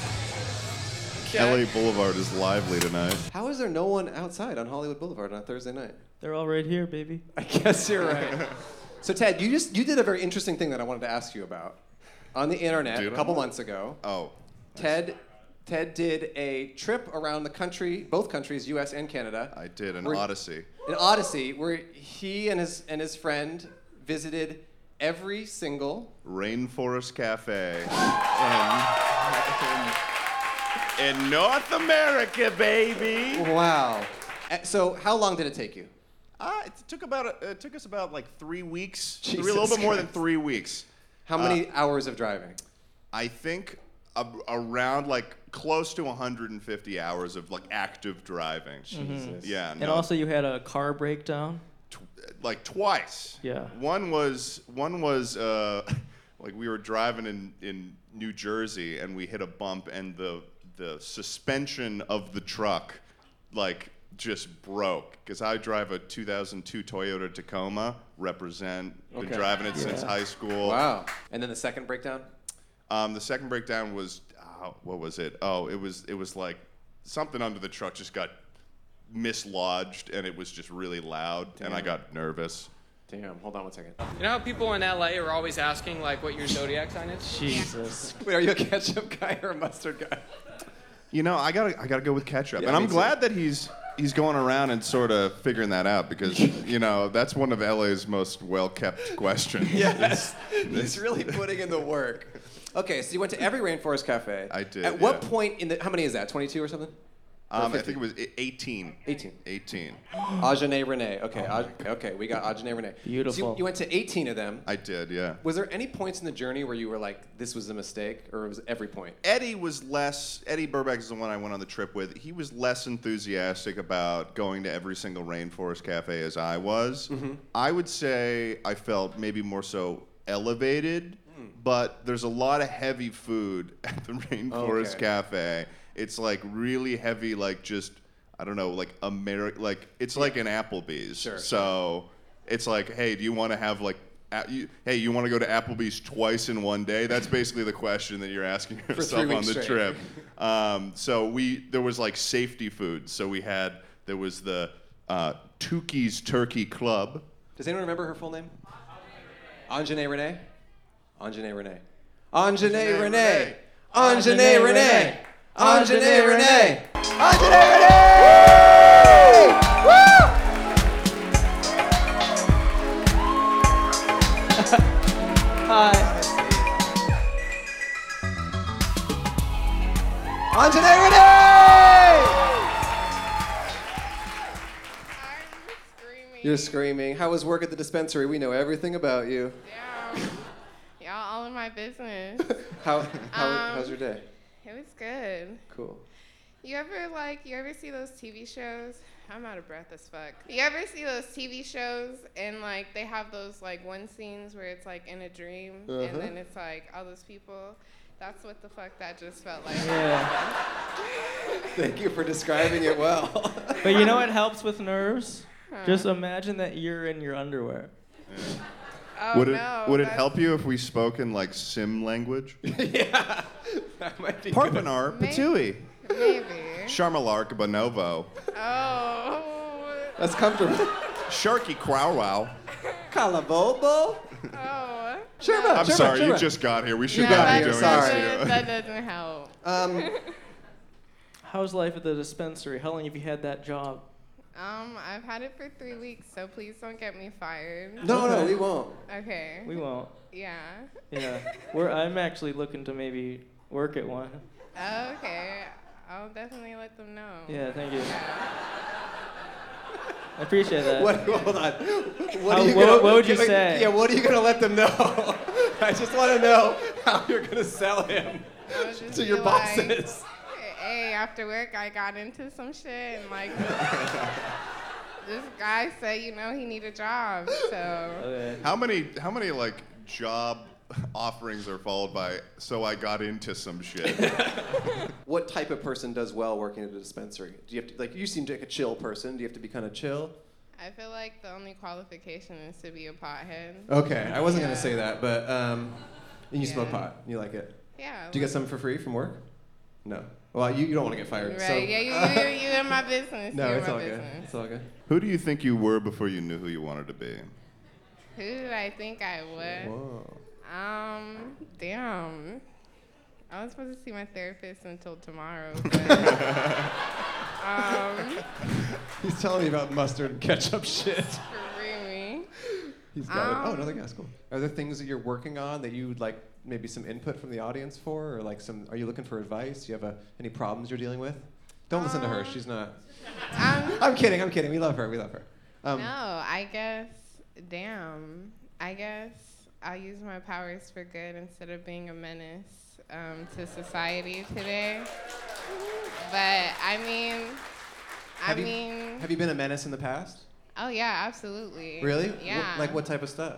S13: LA Boulevard is lively tonight.
S2: How is there no one outside on Hollywood Boulevard on a Thursday night?
S1: They're all right here, baby.
S2: (laughs) I guess you're right. (laughs) so Ted, you just you did a very interesting thing that I wanted to ask you about on the internet
S13: Did
S2: a
S13: I?
S2: couple months ago.
S13: Oh.
S2: Ted Ted did a trip around the country, both countries, US and Canada.
S13: I did an
S2: Were-
S13: odyssey.
S2: An odyssey where he and his and his friend visited every single
S13: Rainforest Cafe. in, in North America, baby.
S2: Wow. Uh, So how long did it take you?
S13: Uh, it took about uh, it took us about like three weeks, three, a
S2: Jesus
S13: little bit more than
S2: Christ.
S13: three weeks. Uh,
S2: How many hours of driving?
S13: I think a- around like close to 150 hours of like active driving.
S1: Jesus.
S13: Hmm. Yeah.
S1: And
S13: no,
S1: also, you had a car breakdown.
S13: like twice.
S1: Yeah.
S13: One was one was uh, (laughs) like we were driving in in New Jersey and we hit a bump and the the suspension of the truck like just broke because I drive a 2002 Toyota Tacoma. Represent. Been
S2: Okay.
S13: driving it since
S2: Yeah.
S13: high school.
S2: Wow. And then the
S13: (laughs)
S2: second breakdown.
S13: Um, the second breakdown was uh, what was it? Oh, it was it was like something under the truck just got mislodged and it was just really loud and I
S2: Damn.
S13: got nervous.
S2: Damn. Hold on one second.
S5: You know how people in LA are always asking like what your zodiac sign is?
S1: Jesus.
S2: (laughs) Wait, are you a ketchup guy or a mustard guy?
S13: You know, I gotta I gotta go with ketchup,
S2: Yeah,
S13: and I'm
S2: me too.
S13: glad that he's he's going around and sort of figuring that out because you know that's one of LA's most well kept questions. (laughs)
S2: Yes. He's really putting in the work. Okay, so you went to every rainforest cafe.
S13: I did.
S2: At what
S13: yeah.
S2: point in the how many is that? 22 or something?
S13: Um, I
S2: 50.
S13: think it was i- 18.
S2: 18.
S13: 18.
S2: (gasps) Ajane Renee.
S13: Oh
S2: Okay, Aj- okay, we got Ajane Renee. So
S13: Beautiful.
S2: you, you went to 18 of them.
S13: I did, yeah.
S2: Was there any points in the journey where you were like, this was a mistake, or was every point?
S13: Eddie was less. Eddie Burbank is the one I went on the trip with. He was less enthusiastic about going to every single rainforest cafe as I was. I would say I felt maybe more so elevated,
S6: Hmm.
S13: but there's a lot of heavy food (laughs) at the rainforest
S6: Okay.
S13: cafe. It's like really heavy, like just I don't know, like Ameri- like it's like an Applebee's.
S6: Sure.
S13: So it's like, hey, do you want to have like a- you, hey, you want to go to Applebee's twice in one day? That's basically the question that you're asking
S6: (laughs) For three
S13: yourself on
S6: weeks
S13: the
S6: straight. (laughs)
S13: trip. Um, so we there was like safety food. So we had there was the uh, Tukey's Turkey Club.
S2: Does anyone remember her full name? Anjane Renee? Anjane Renee. Anjane Renee! Anjane Renee! Anjane Renee!
S1: Hi.
S2: Anjane Renee! You're screaming. How was work at the dispensary? We know everything about you.
S10: Y'all all in my business.
S2: How, how
S10: Um,
S2: how's your day?
S10: It was good.
S2: Cool.
S10: You ever like you ever see those TV shows? I'm out of breath as fuck. You ever see those TV shows and like they have those like one scenes where it's like in a dream
S14: Uh-huh.
S10: and then it's like all those people. That's what the fuck that just felt like.
S1: Yeah.
S2: Thank you for describing it well.
S1: But you know what helps with nerves?
S10: Huh.
S1: Just imagine that you're in your underwear.
S10: Oh
S13: would it
S10: no.
S13: would it
S10: that's-
S13: help you if we spoke in like sim language?
S2: (laughs) yeah.
S13: Parpanar
S10: Maybe.
S13: Patui.
S10: Maybe. (laughs)
S13: Sharmalark Bonovo.
S10: Oh.
S2: That's comfortable.
S13: Sharky Crow Wow.
S2: Calabobo.
S10: Oh.
S2: Sure,
S13: I'm
S2: sure,
S13: sorry,
S2: sure.
S13: you just got here. We should
S10: No,
S13: not
S10: that,
S13: be doing
S10: doesn't,
S13: this.
S10: that doesn't help.
S2: Um,
S10: (laughs)
S1: How's life at the dispensary? How long have you had that job?
S10: Um, I've had it for three weeks, so please don't get me fired.
S1: No, no, we
S2: won't.
S10: Okay.
S1: We won't.
S10: Yeah.
S1: Yeah. We're, I'm actually looking to maybe work at one.
S10: Okay. I'll definitely let them know.
S1: Yeah, thank you. I appreciate that.
S2: What, hold on. What,
S1: How-
S2: are you
S1: what-
S2: gonna,
S1: what would you
S2: like,
S1: say?
S2: Yeah, what are you going to let them know? (laughs) I just want to know how you're going to sell him
S10: I would just
S2: to your
S10: be like,
S2: bosses.
S10: Hey, after work, I got into some shit, and like,
S1: (laughs)
S10: this guy said, you know, he need a job, so.
S13: (laughs) How many how many like job (laughs) offerings are followed by so I got into some shit?
S2: (laughs) What type of person does well working at a dispensary? Do you have to like you seem like a chill person? Do you have to be kind of chill?
S10: I feel like the only qualification is to be a pothead.
S2: Okay, I wasn't gonna
S10: Yeah.
S2: say that, but um, and you smoke
S10: Yeah.
S2: pot, you like it.
S10: Yeah, I
S2: Do you get
S10: like-
S2: some for free from work? No. Well, you, you don't want to get fired.
S10: Right?
S2: So,
S10: yeah,
S2: (laughs)
S10: you, you, you in my business.
S13: No,
S10: you in
S13: it's
S10: my
S13: all good.
S10: business.
S2: It's all good.
S13: Who do you think you were before you knew who you wanted to be?
S10: Who did I think I was?
S13: Whoa.
S10: Um, damn. I was supposed to see my therapist until tomorrow.
S2: (laughs)
S10: But, um,
S2: He's telling me about mustard and ketchup shit. (laughs)
S10: really?
S2: He's got it. Oh,
S10: Um,
S2: another guy's cool. Are there things that you're working on that you would like maybe some input from the audience for, or like some? Are you looking for advice? Do you have a, any problems you're dealing with? Don't listen to her. She's not. (laughs) I'm kidding. I'm kidding. We love her. We love her. Um,
S10: Um, no, I guess. Damn. I guess I'll use my powers for good instead of being a menace um, to society today. But I mean,
S2: Have
S10: I
S2: you-
S10: mean.
S2: Have you been a menace in the past?
S10: Oh yeah, absolutely.
S2: Really?
S10: Yeah.
S2: What, like what type of stuff?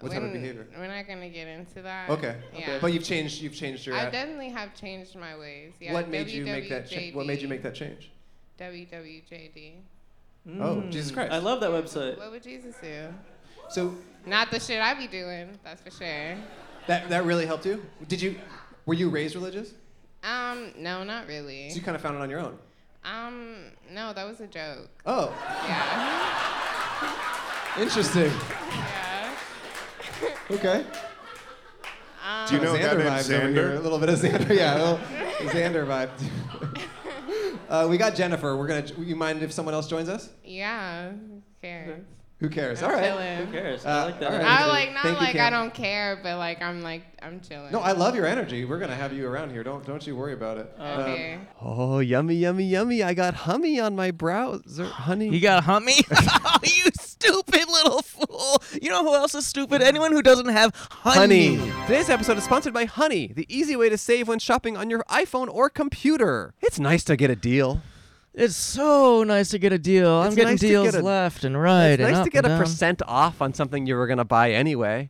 S2: What type of
S10: We're-
S2: behavior?
S10: We're not gonna get into that.
S2: Okay.
S10: Yeah.
S2: But you've changed. You've changed your.
S10: I
S2: at-
S10: definitely have changed my ways. Yeah. E
S2: what made you make that?
S10: WWJD.
S2: Cha- what made you make that change?
S10: WWJD.
S2: Oh,
S10: Mm.
S2: Jesus Christ.
S1: I love that website.
S10: What would Jesus do?
S2: So
S10: Not the shit I be doing. That's for sure.
S2: that that really helped you? Did you? Were you raised religious?
S10: Um, no, not really.
S2: So you kind of found it on your own.
S10: Um, no, that was a joke.
S2: Oh,
S10: Yeah.
S2: interesting.
S10: yeah.
S2: Okay.
S10: Um,
S13: Do you know a guy
S2: Xander
S13: named
S2: vibes over
S13: Xander?
S2: here. A little bit of Xander, yeah. A little Xander vibe.
S10: (laughs)
S2: uh, we got Jennifer. We're gonna. You mind if someone else joins us?
S10: Yeah. Who cares?
S2: Who cares?
S10: I'm
S2: all right.
S10: chilling.
S1: Who cares?
S2: Uh,
S1: I like that.
S2: all right.
S10: I like not
S2: Thank you,
S10: like I
S2: Cam.
S10: don't care, but like I'm like I'm chilling.
S2: No, I love your energy. We're gonna have you around here. Don't don't you worry about it. Um,
S10: Okay.
S2: oh, yummy, yummy, yummy! I got hummy on my browser, Uh, honey.
S11: You got hummy? oh, you stupid little fool! You know who else is stupid? Anyone who doesn't have honey.
S2: Today's episode is sponsored by Honey, the easy way to save when shopping on your iPhone or computer. It's nice to get a deal.
S11: It's so Oh, nice to get a deal. I'm
S2: It's
S11: getting
S2: nice to
S11: deals
S2: get a-
S11: left and right.
S2: It's
S11: and
S2: nice
S11: up
S2: to get
S11: and
S2: a
S11: down.
S2: percent off on something you were going to buy anyway.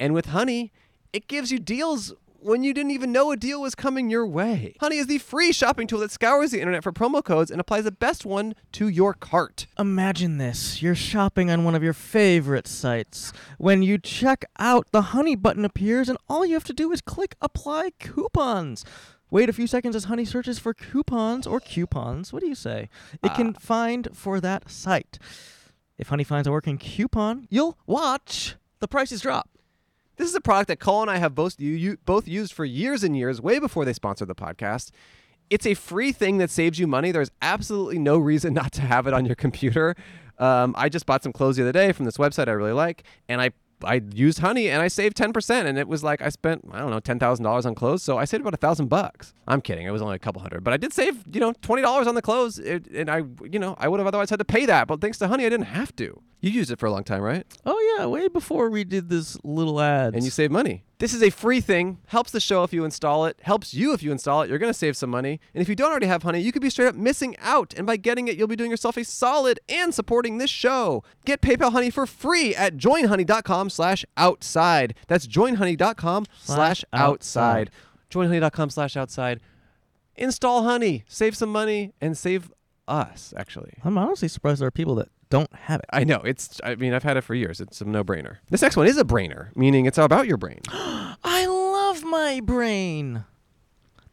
S2: And with Honey, it gives you deals when you didn't even know a deal was coming your way. Honey is the free shopping tool that scours the internet for promo codes and applies the best one to your cart.
S11: Imagine this. You're shopping on one of your favorite sites. When you check out, the honey button appears, and all you have to do is click apply coupons. Wait a few seconds as Honey searches for coupons or coupons. What do you say? It can
S2: Ah.
S11: find for that site. If Honey finds a working coupon, you'll watch the prices drop.
S2: This is a product that Cole and I have both you, you both used for years and years, way before they sponsored the podcast. It's a free thing that saves you money. There's absolutely no reason (laughs) not to have it on your computer. Um, I just bought some clothes the other day from this website I really like, and I I used Honey and I saved ten percent, and it was like I spent I don't know ten thousand dollars on clothes, so I saved about a thousand bucks. I'm kidding, it was only a couple hundred, but I did save you know twenty dollars on the clothes, it, and I you know I would have otherwise had to pay that, but thanks to Honey, I didn't have to. You used it for a long time, right?
S11: Oh, yeah, way before we did this little ad.
S2: and you save money. This is a free thing. Helps the show if you install it. Helps you if you install it. You're going to save some money. And if you don't already have Honey, you could be straight up missing out. And by getting it, you'll be doing yourself a solid and supporting this show. Get PayPal Honey for free at joinhoney.com slash outside. That's joinhoney.com slash outside. Joinhoney.com slash outside. Install Honey. Save some money and save us, actually.
S11: I'm honestly surprised there are people that don't have it.
S2: I know. It's, I mean, I've had it for years. It's a no brainer. This next one is a brainer, meaning it's about your brain.
S11: I love my brain.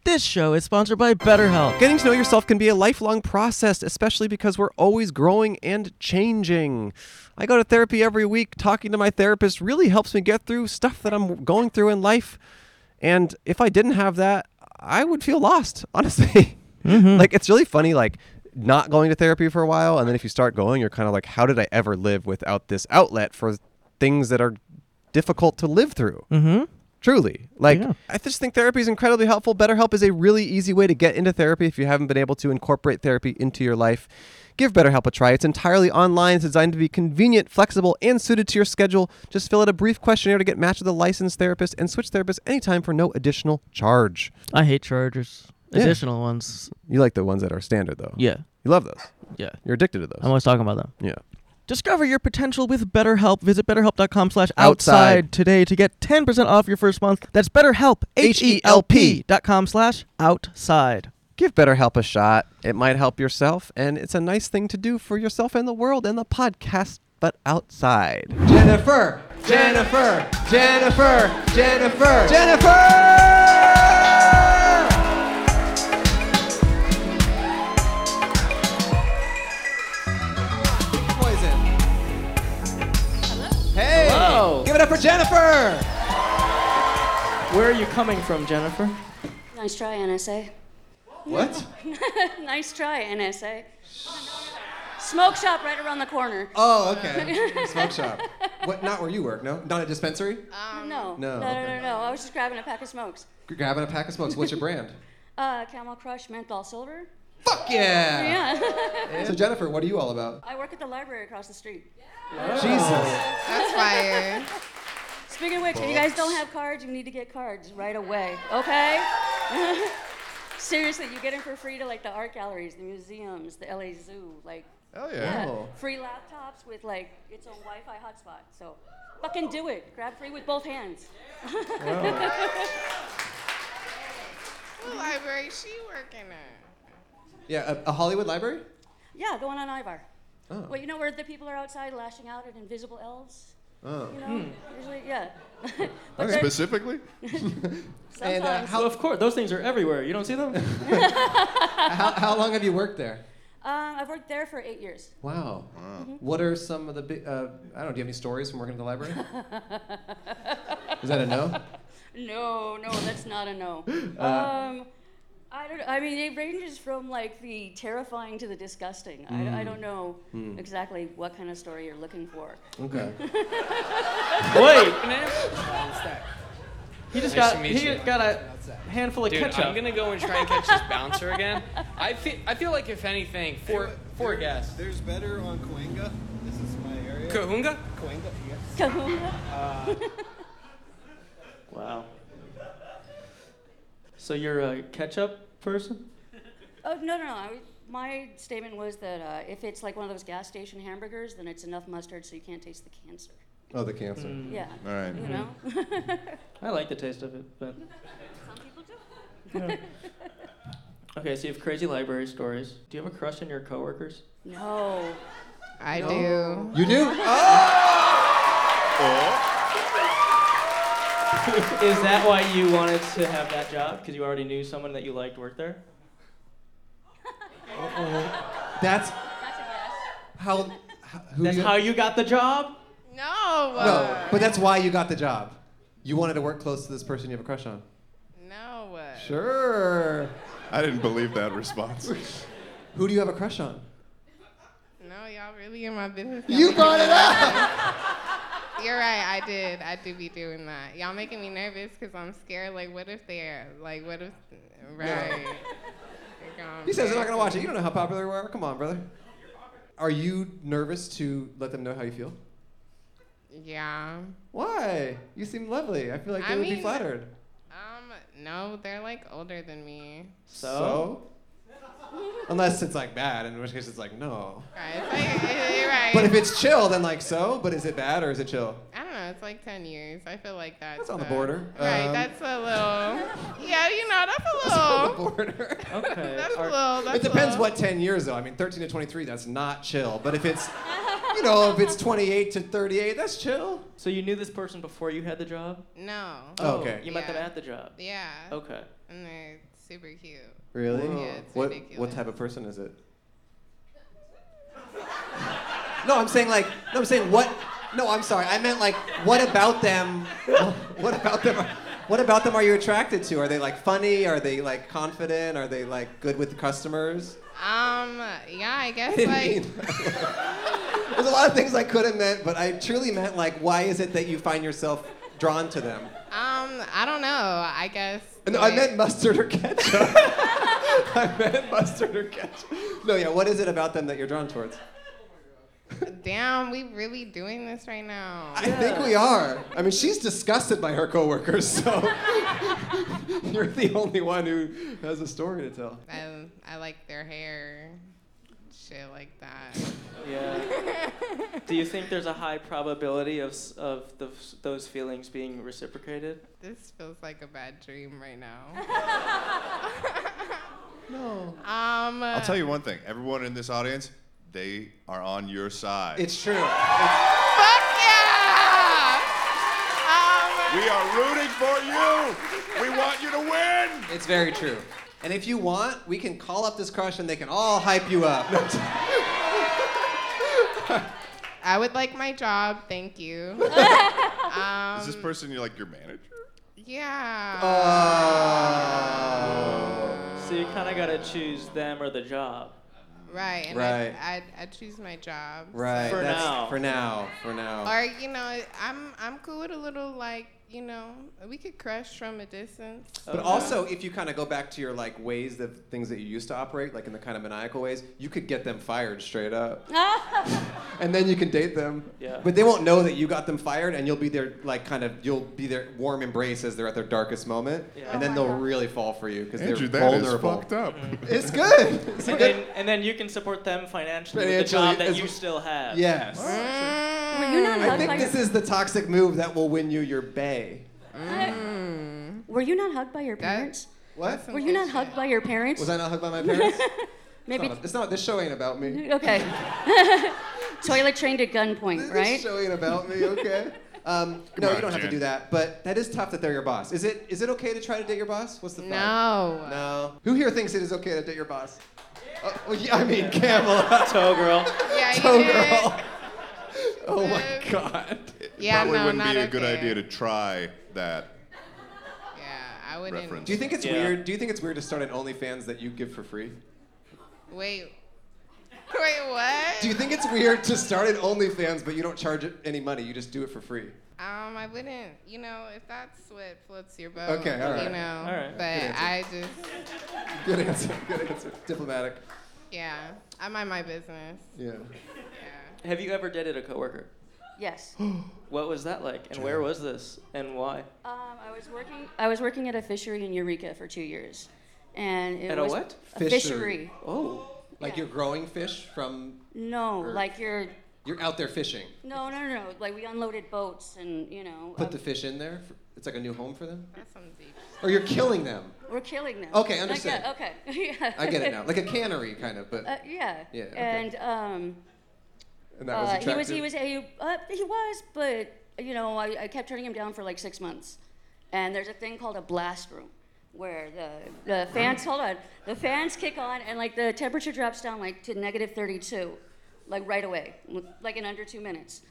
S11: This show is sponsored by BetterHelp.
S2: Getting to know yourself can be a lifelong process, especially because we're always growing and changing. I go to therapy every week. Talking to my therapist really helps me get through stuff that I'm going through in life. And if I didn't have that, I would feel lost, (laughs) honestly. Like, it's really funny, like, not going to therapy for a while. And then if you start going, you're kind of like, how did I ever live without this outlet for things that are difficult to live through?
S11: Mm-hmm.
S2: Truly. Like, I just think therapy is incredibly helpful. BetterHelp is a really easy way to get into therapy if you haven't been able to incorporate therapy into your life. Give BetterHelp a try. It's entirely online. It's designed to be convenient, flexible, and suited to your schedule. Just fill out a brief questionnaire to get matched with a licensed therapist and switch therapists anytime for no additional charge.
S11: I hate chargers.
S2: Yeah.
S11: Additional ones.
S2: You like the ones that are standard, though.
S11: Yeah.
S2: You love those.
S11: Yeah.
S2: You're addicted to those.
S11: I'm always talking about them.
S2: Yeah.
S11: Discover your potential with BetterHelp. Visit betterhelp.com slash
S2: Outside.
S11: outside today to get 10% off your first month. That's betterhelp, E H-E-L-P dot com slash outside.
S2: Give BetterHelp a shot. It might help yourself, and it's a nice thing to do for yourself and the world and the podcast, but outside. Jennifer! Jennifer! Jennifer! Jennifer! Jennifer! Poison. Hey!
S1: Hello.
S2: Give it up for Jennifer!
S1: Where are you coming from, Jennifer?
S14: Nice try, NSA.
S2: What?
S14: (laughs) nice try, NSA. Smoke shop right around the corner.
S2: Oh, okay. Smoke shop. What? Not where you work? No, not a dispensary.
S14: Um, no. No,
S2: No,
S14: no,
S2: okay.
S14: no, no. I was just grabbing a pack of smokes.
S2: Grabbing a pack of smokes. What's your brand?
S14: Uh, Camel Crush Menthol Silver.
S2: Fuck yeah!
S14: Yeah. (laughs)
S2: (laughs) So Jennifer, what are you all about?
S14: I work at the library across the street.
S2: Jesus.
S14: That's
S10: fire.
S14: Speaking of which, if you guys don't have cards, you need to get cards right away, okay? (laughs) Seriously, you get them for free to like the art galleries, the museums, the LA Zoo, like.
S2: Oh, yeah. Oh.
S14: Free laptops with like its own Wi-Fi hotspot. So, fucking do it. Grab free with both hands. (laughs)
S10: What library she working at?
S2: Yeah, a, a Hollywood library.
S14: yeah, going on Ivar.
S2: Oh.
S14: Well, you know where the people are outside lashing out at invisible elves.
S2: Oh.
S14: You know,
S2: Hmm.
S14: usually, yeah. (laughs)
S1: Okay.
S14: they're- (laughs)
S1: Specifically?
S14: And, uh, Sometimes. how-
S1: of course, those things are everywhere. You don't see them?
S2: how, how long have you worked there?
S14: Um, I've worked there for eight years.
S2: Wow.
S14: Mhm.
S2: What are some of the big? Uh, I don't. know, Do you have any stories from working at the library? (laughs) Is that a no?
S14: No, no, that's not a no.
S2: (laughs) Uh,
S14: um, I I don't. I mean, it ranges from like the terrifying to the disgusting. I, I
S2: Hmm.
S6: Mm.
S14: don't know
S6: Mm.
S14: exactly what kind of story you're looking for. (laughs)
S6: Okay.
S1: Wait.
S5: He
S1: just
S5: Nice
S1: got
S5: to meet
S1: he
S5: you.
S1: got (laughs) a handful of
S5: Dude,
S1: ketchup.
S5: I'm gonna go and try and catch this
S1: (laughs)
S5: bouncer again. I feel, I feel like if anything, four four guests.
S1: (laughs)
S15: There's better on Coenga. This is my area.
S5: Cahoonga?
S15: Coenga, yes.
S14: Cahoonga?
S15: Uh,
S1: (laughs) Wow. So you're a ketchup (laughs) person?
S14: Oh no, no, no. I, my statement was that uh, if it's like one of those gas station hamburgers, then it's enough mustard so you can't taste the cancer.
S2: Oh, the cancer.
S1: Mm.
S14: Yeah.
S2: All right. Mm-hmm.
S14: You know.
S1: I like the taste of it, but
S14: Some people do.
S1: Yeah. okay. So you have crazy library stories. Do you have a crush on your coworkers?
S14: (laughs) no.
S10: I
S1: No.
S10: do. Oh.
S1: You (laughs) do? Is that why you wanted to have that job? Because you already knew someone that you liked worked there?
S2: That's how. Who
S1: That's
S2: you-
S1: how you got the job?
S10: No.
S2: No, but that's why you got the job. You wanted to work close to this person you have a crush on.
S10: No.
S2: uh, Sure.
S13: I didn't believe that response.
S2: (laughs) Who do you have a crush on?
S10: No, y'all really in my business.
S2: You brought it
S10: up. (laughs) You're right. I did. I do be doing that. Y'all making me nervous because I'm scared. Like, what if they're like, what if? Right.
S2: He says they're not gonna watch it. You don't know how popular we are. Come on, brother. Are you nervous to let them know how you feel?
S10: Yeah.
S2: Why? You seem lovely. I feel like they
S10: I
S2: would be
S10: mean-
S2: flattered.
S10: Um. No, they're like older than me.
S2: So? (laughs) Unless it's like bad, in which case it's like no.
S10: Right. It's like, (laughs) it- you're right.
S2: But if it's chill, then like so. But is it bad or is
S10: (laughs)
S2: it chill?
S10: I don't know. It's like ten years. I feel like that's.
S2: It's on the
S10: a-
S2: border.
S10: Right.
S2: Um,
S10: that's a little. Yeah. You know. That's a little.
S1: Okay.
S10: (laughs) That's a little. That's
S2: it depends
S10: a little.
S2: what 10 years though. I mean, 13 to 23, that's not chill. But if it's, (laughs) you know, if it's 28 to 38, that's chill.
S1: So you knew this person before you had the job?
S10: No.
S2: Oh, okay.
S1: You met them
S10: Yeah.
S1: at the job.
S10: Yeah.
S1: Okay.
S10: And they're super cute.
S2: Really?
S10: Yeah, it's
S2: what
S10: ridiculous.
S2: what type of person is it? no, I'm saying like no, I'm saying what? No, I'm sorry. I meant like what about them? What about them? What about them are you attracted to? Are they like funny? Are they like confident? Are they like good with customers?
S10: Um. Yeah. I
S2: I (laughs)
S10: guess
S2: didn't
S10: like.
S2: mean- There's a lot of things I could have meant, but I truly meant like why is it that you find yourself drawn to them?
S10: Um. I don't know. I guess.
S2: No, I meant mustard or ketchup. (laughs) I meant mustard or ketchup. No, yeah, what is it about them that you're drawn towards?
S10: Damn. We really doing this right now.
S2: I think we are. I mean, she's disgusted by her coworkers, so (laughs) you're the only one who has a story to tell.
S10: I, I like their hair. Shit like that.
S1: Yeah. Do you think there's a high probability of, s- of the, those feelings being reciprocated?
S10: This feels like a bad dream right now.
S1: (laughs)
S10: (laughs)
S2: no.
S10: Um.
S13: I'll tell you one thing. Everyone in this audience, they are on your side.
S2: It's true.
S13: we are rooting for you. We want you to win.
S2: It's very true. And if you want, we can call up this crush and they can all hype
S13: (laughs)
S2: you up.
S10: I would like my job. Thank you.
S1: (laughs)
S10: um.
S13: Is this person you like your manager?
S10: Yeah.
S2: Uh, Oh.
S1: So you kind of got to choose them or the job.
S10: Right. And
S2: Right.
S10: I, I, I choose my job.
S2: right.
S1: For
S2: that's-
S1: now.
S2: For now. For now.
S10: Or you know, I'm I'm cool with a little like you know we could crush from a distance.
S2: But
S10: (laughs)
S2: also, if you kind of go back to your like ways of things that you used to operate, like in the kind of maniacal ways, you could get them fired straight up, and then you can date them.
S1: Yeah.
S2: But they won't know that you got them fired, and you'll be their like kind of you'll be their warm embrace as they're at their darkest moment,
S1: Yeah.
S2: and
S1: Oh
S2: then
S1: my
S2: they'll really fall for you because they're
S13: Andrew, that is
S2: vulnerable.
S13: fucked up.
S2: (laughs)
S1: Mm-hmm.
S14: (laughs)
S2: It's good. It's a
S1: And
S2: good-
S1: then, and then you can support them financially,
S2: Financially,
S1: with the job
S2: as-
S1: that you still have.
S2: Yes.
S14: Were you not
S2: I
S14: hugged
S2: think
S14: by
S2: this
S14: your,
S2: is the toxic move that will win you your bay.
S14: Were you not hugged by your parents?
S2: What?
S14: Were you not hugged by your parents?
S2: Was I not
S14: (laughs)
S2: hugged by my parents? It's
S14: Maybe.
S2: not, it's not. This show ain't about me.
S14: (laughs) Okay. (laughs) Toilet trained at gunpoint, right?
S2: This show ain't about me, okay? Um, no,
S13: on,
S2: you don't have to
S13: Jen.
S2: do that. But that is tough that they're your boss. Is it is it okay to try to date your boss? What's the thought?
S10: No.
S2: No. Who here thinks it is okay to date your boss? Uh, well, yeah, I
S1: (laughs)
S2: mean, Camelot.
S1: Toe girl.
S10: (laughs)
S2: (laughs)
S10: Yeah, you
S2: Toe
S10: did.
S2: girl. Oh my God.
S10: Yeah,
S13: Probably
S10: no,
S13: wouldn't
S10: not
S13: be a good
S10: okay.
S13: idea to try that.
S10: I I wouldn't.
S2: Do you think it's weird? Do you think it's weird to start an OnlyFans that you give for free?
S10: Wait. (laughs) Wait, what?
S2: Do you think it's weird to start an OnlyFans but you don't charge it any money? You just do it for free.
S10: Um, I wouldn't. You know, if that's what floats your boat.
S2: Okay, all right.
S10: You know,
S2: All right.
S10: but
S2: Good
S10: I
S2: answer.
S10: just.
S2: Good answer. Good answer. Diplomatic.
S10: Yeah, I mind my business.
S2: Yeah.
S1: Have you ever dated
S16: (gasps)
S1: a coworker?
S14: Yes.
S1: What was that like? And where was this? And why?
S14: Um, I was working. (laughs) I was working at a fishery in Eureka for two years, and it
S1: At a
S14: was
S1: what?
S14: A fishery.
S2: Oh. Like
S14: Yeah.
S2: you're growing fish from.
S14: No,
S2: Or-
S14: like you're.
S2: You're out there fishing.
S14: No, no, no, no. Like we unloaded boats, and you know.
S2: Put
S14: um,
S2: the fish in there. For, it's like a new home for them.
S10: That sounds deep.
S2: Or you're killing them.
S14: We're killing them.
S2: Okay,
S14: Like
S2: understood.
S14: that, okay. (laughs) yeah.
S2: I get it now.
S14: (laughs)
S2: Like a cannery kind of, but.
S14: Uh, yeah.
S2: Yeah, okay.
S14: And um.
S2: and that was
S14: uh, he
S2: attractive.
S14: was. He was. A, uh, he was, but you know, I, I kept turning him down for like six months, and there's a thing called a blast room, where the the fans hold on, the fans kick on, and like the temperature drops down like to negative 32, like right away, like in under two minutes.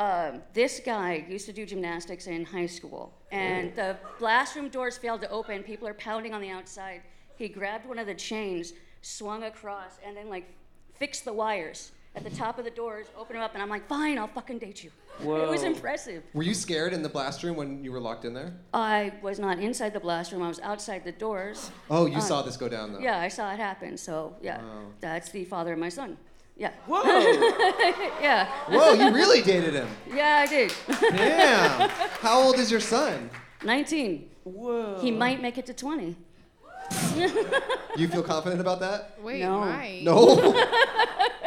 S14: Um, this guy used to do gymnastics in high school, and the blast room doors failed to open. People are pounding on the outside. He grabbed one of the chains, swung across, and then like fixed the wires at the top of the doors, opened them up, and I'm like, fine, I'll fucking date you. (laughs) It was
S2: Whoa.
S14: impressive.
S2: Were you scared in the blast room when you were locked in there?
S14: I was not inside the blast room. I was outside the doors.
S2: Oh, you
S14: Uh,
S2: saw this go down though.
S14: Yeah, I saw it happen. So yeah,
S2: Wow.
S14: that's the father of my son. Yeah.
S2: Whoa.
S14: (laughs) yeah.
S2: Whoa, you really dated him.
S14: (laughs) yeah, I did. (laughs)
S2: Damn. How old is your son?
S14: 19.
S1: Whoa.
S14: He might make it to 20.
S2: You feel confident about that?
S10: Wait,
S14: No.
S10: Mike.
S2: No.
S14: (laughs)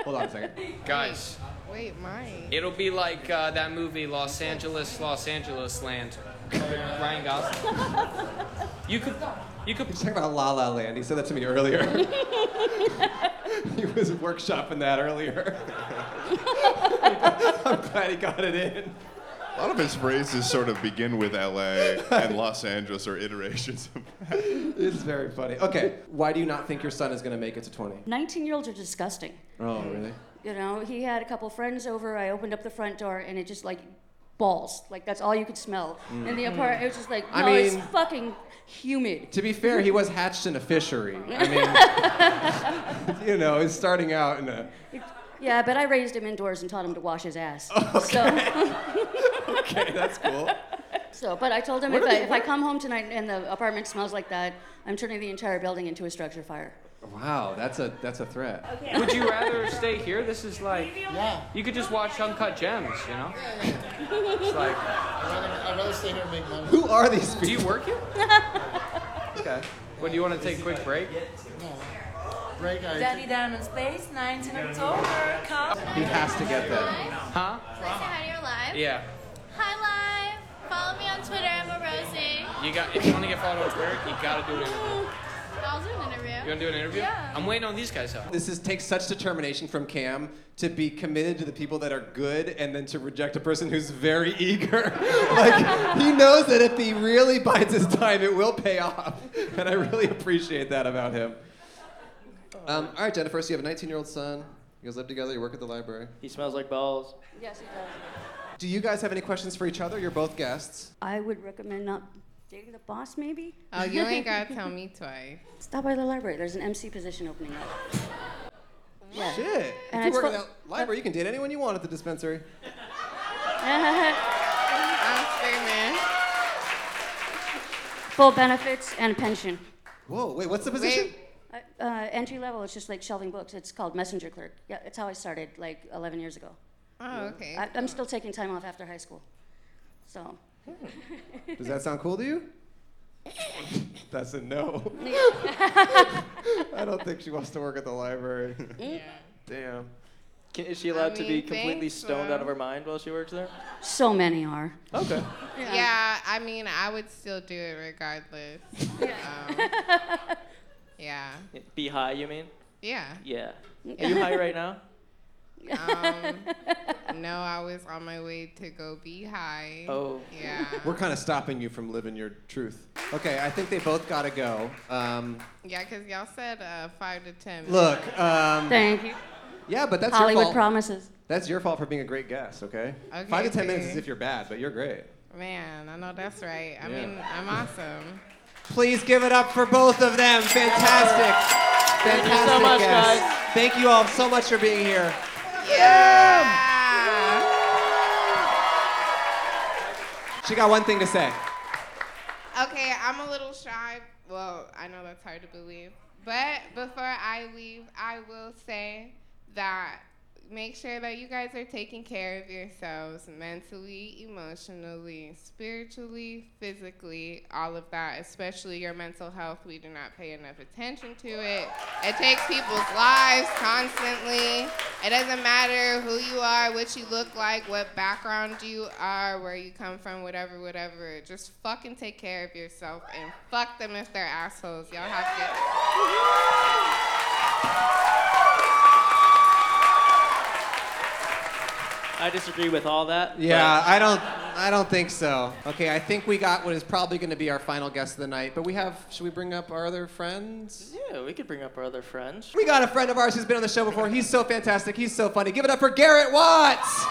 S2: Hold on a second.
S5: Guys,
S10: Wait, Mike.
S5: it'll be like uh, that movie Los Angeles, Los Angeles Land. Ryan Gosling. You could. You could.
S2: He's talking about La La Land. He said that to me earlier. (laughs) he was workshopping
S5: (laughs)
S2: that earlier. (laughs) I'm glad he got it in.
S13: A lot of his phrases sort of begin with LA and Los Angeles or iterations of
S2: It's very funny. Okay, why do you not think your son is going to make it to 20?
S14: 19 year olds are disgusting.
S2: Oh, really?
S14: You know, he had a couple friends over. I opened up the front door and it just like balls. Like that's all you could smell
S2: Mm.
S14: in the apartment. It was just like, no,
S2: I
S14: it's
S2: mean-
S14: fucking humid.
S2: To be fair, he was hatched in a fishery.
S14: (laughs)
S5: (laughs)
S2: I mean, you know, he's starting out in a.
S14: Yeah, but I raised him indoors and taught him to wash his
S2: (laughs)
S14: ass.
S2: Okay, that's cool.
S14: So, so, but I told him
S2: What
S14: if,
S2: are
S14: I,
S2: they-
S14: if I come home tonight and the apartment smells like that, I'm turning the entire building into a structure fire.
S2: Wow, that's a that's a threat.
S5: Would you rather stay here? This is like. You could just watch Uncut Gems, you know? It's like.
S15: I'd rather stay here and make money.
S2: Who are these people?
S5: Do you
S2: (laughs)
S5: work here?
S2: okay.
S5: What, do you want to take a quick break?
S15: Break, I
S17: Daddy Down in Space, 19 October. Come.
S2: He has to get that.
S5: Huh?
S18: hi to your live.
S5: Yeah.
S18: Hi live. Follow me on Twitter. I'm a Rosie.
S5: You got. If you want to get followed on Twitter, you gotta do an interview.
S18: I'll do an interview.
S5: You wanna do an interview?
S18: Yeah.
S5: I'm waiting on these guys out.
S2: This is takes such determination from Cam to be committed to the people that are good and then to reject a person who's very (laughs) eager. like he knows that if he really bides his time, it will pay off, (laughs) and I really appreciate that about him. Um, all right, Jennifer, so you have a 19-year-old son. You guys live together. You work at the library.
S1: He smells like balls.
S14: Yes, it does.
S2: Do you guys have any questions for each other? You're both guests.
S14: I would recommend not dating the boss, maybe.
S10: Oh, you ain't
S14: (laughs)
S10: gotta tell me twice.
S14: Stop by the library. There's an MC position opening up. Yeah.
S2: Shit.
S14: And
S2: if
S14: it's
S2: you work
S14: fu-
S2: at that library, you can date anyone you want at the dispensary.
S10: I'm screaming.
S14: (laughs) Full benefits and pension.
S2: Whoa, wait, what's the position?
S14: Uh, uh, entry level, it's just like shelving books. It's called messenger clerk. Yeah, it's how I started like 11 years ago.
S10: Oh, okay.
S14: I, I'm still taking time off after high school. So.
S2: Hmm. Does that sound cool to you? That's
S4: (laughs)
S2: a no.
S14: (laughs)
S2: (laughs) I don't think she wants to work at the library. Damn.
S1: Can, is she allowed to be
S10: mean,
S1: completely
S10: thanks,
S1: stoned out of
S10: uh,
S1: her mind while she works there?
S14: So many are.
S1: Okay.
S10: Yeah. I mean, I would still do it regardless.
S14: (laughs)
S10: Um, yeah.
S1: Be high, you mean?
S10: Yeah.
S14: (laughs)
S1: Yeah. Are you high right now?
S10: Um, no, I was on my way to go be high.
S2: Oh.
S10: Yeah.
S2: We're kind of stopping you from living your truth. Okay, I think they both gotta go. Um,
S10: Yeah, because y'all said uh, five to ten.
S2: look. Um,
S14: Thank you.
S2: Yeah, but that's your
S14: Hollywood
S2: fault.
S14: promises.
S2: That's your fault for being a great guest. Okay.
S10: Okay,
S2: Five to ten minutes
S10: see.
S2: is if you're bad, but you're great.
S10: Man, I know that's right. I
S2: Yeah.
S10: mean, I'm awesome.
S2: Please give it up for both of them. Fantastic.
S4: Thank
S2: Fantastic
S4: you so much,
S2: guests.
S4: guys.
S2: Thank you all so much for being here.
S10: Uh,
S2: She got one thing to say.
S10: Okay, I'm a little shy. Well, I know that's hard to believe. But before I leave, I will say that make sure that you guys are taking care of yourselves mentally, emotionally, spiritually, physically, all of that, especially your mental health. We do not pay enough attention to it. It takes people's lives constantly. It doesn't matter who you are, what you look like, what background you are, where you come from, whatever, whatever. Just fucking take care of yourself and fuck them if they're assholes. Y'all have to.
S1: I disagree with all that.
S2: Yeah, I don't I don't think so. Okay, I think we got what is probably going to be our final guest of the night, but we have should we bring up our other friends?
S1: Yeah, we could bring up our
S16: (laughs)
S1: other friends.
S2: We got a friend of ours who's been on the show before. He's so fantastic. He's so funny. Give it up for Garrett Watts.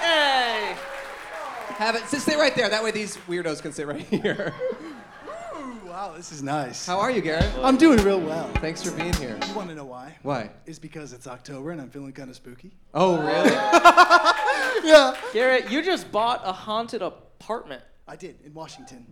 S1: Hey.
S2: Have it. Sit, stay right there. That way these weirdos can sit right here.
S16: Wow, this is nice.
S2: How are you, Garrett?
S16: I'm doing real well.
S2: Thanks for being here.
S16: You want to know why?
S2: Why?
S16: It's because it's October and I'm feeling kind of spooky.
S2: Oh, really?
S16: (laughs)
S1: yeah. Garrett, you just bought a haunted apartment.
S16: I did in
S1: (laughs)
S16: Washington.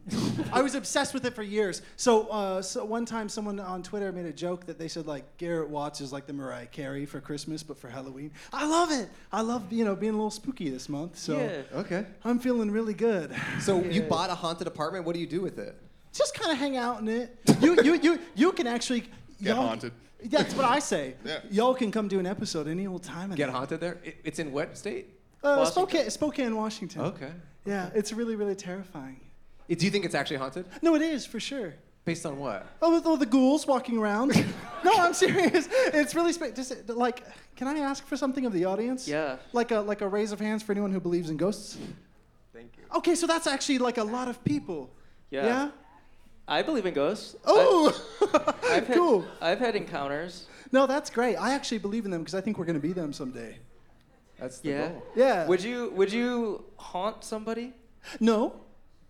S16: I was obsessed with it for years. So, uh, so one time, someone on Twitter made a joke that they said like Garrett Watts is like the Mariah Carey for Christmas, but for Halloween. I love it. I love you know being a little spooky this month. So
S2: Yeah. Okay.
S16: I'm feeling really good.
S2: So you bought a haunted apartment. What do you do with it?
S16: just kind of hang out in it. You you you you can actually
S2: Get
S16: y'all-
S2: haunted.
S16: That's what I say.
S2: (laughs) Yeah.
S16: Y'all can come do an episode any old time. in
S2: Get
S16: it.
S2: haunted there? It- it's in what state?
S16: Uh,
S2: Washington.
S16: Spokane, Spokane, Washington.
S2: Okay.
S16: Yeah, it's really really terrifying.
S2: Uh, Do you think it's actually haunted?
S16: No, it is for sure.
S2: Based on what?
S16: Oh, with all the ghouls walking
S2: (laughs)
S16: around. no, I'm serious. It's really sp- just uh, like. Can I ask for something of the audience?
S1: Yeah.
S16: Like a like a raise of hands for anyone who believes in ghosts. Thank you. Okay, so that's actually like a lot of people.
S1: Yeah.
S16: Yeah?
S1: I believe in ghosts.
S16: Oh,
S2: (laughs)
S1: I've had,
S16: cool.
S1: I've had encounters.
S16: No, that's great. I actually believe in them because I think we're gonna be them someday.
S2: That's
S1: yeah.
S16: Yeah.
S1: Would you would you haunt somebody?
S16: No.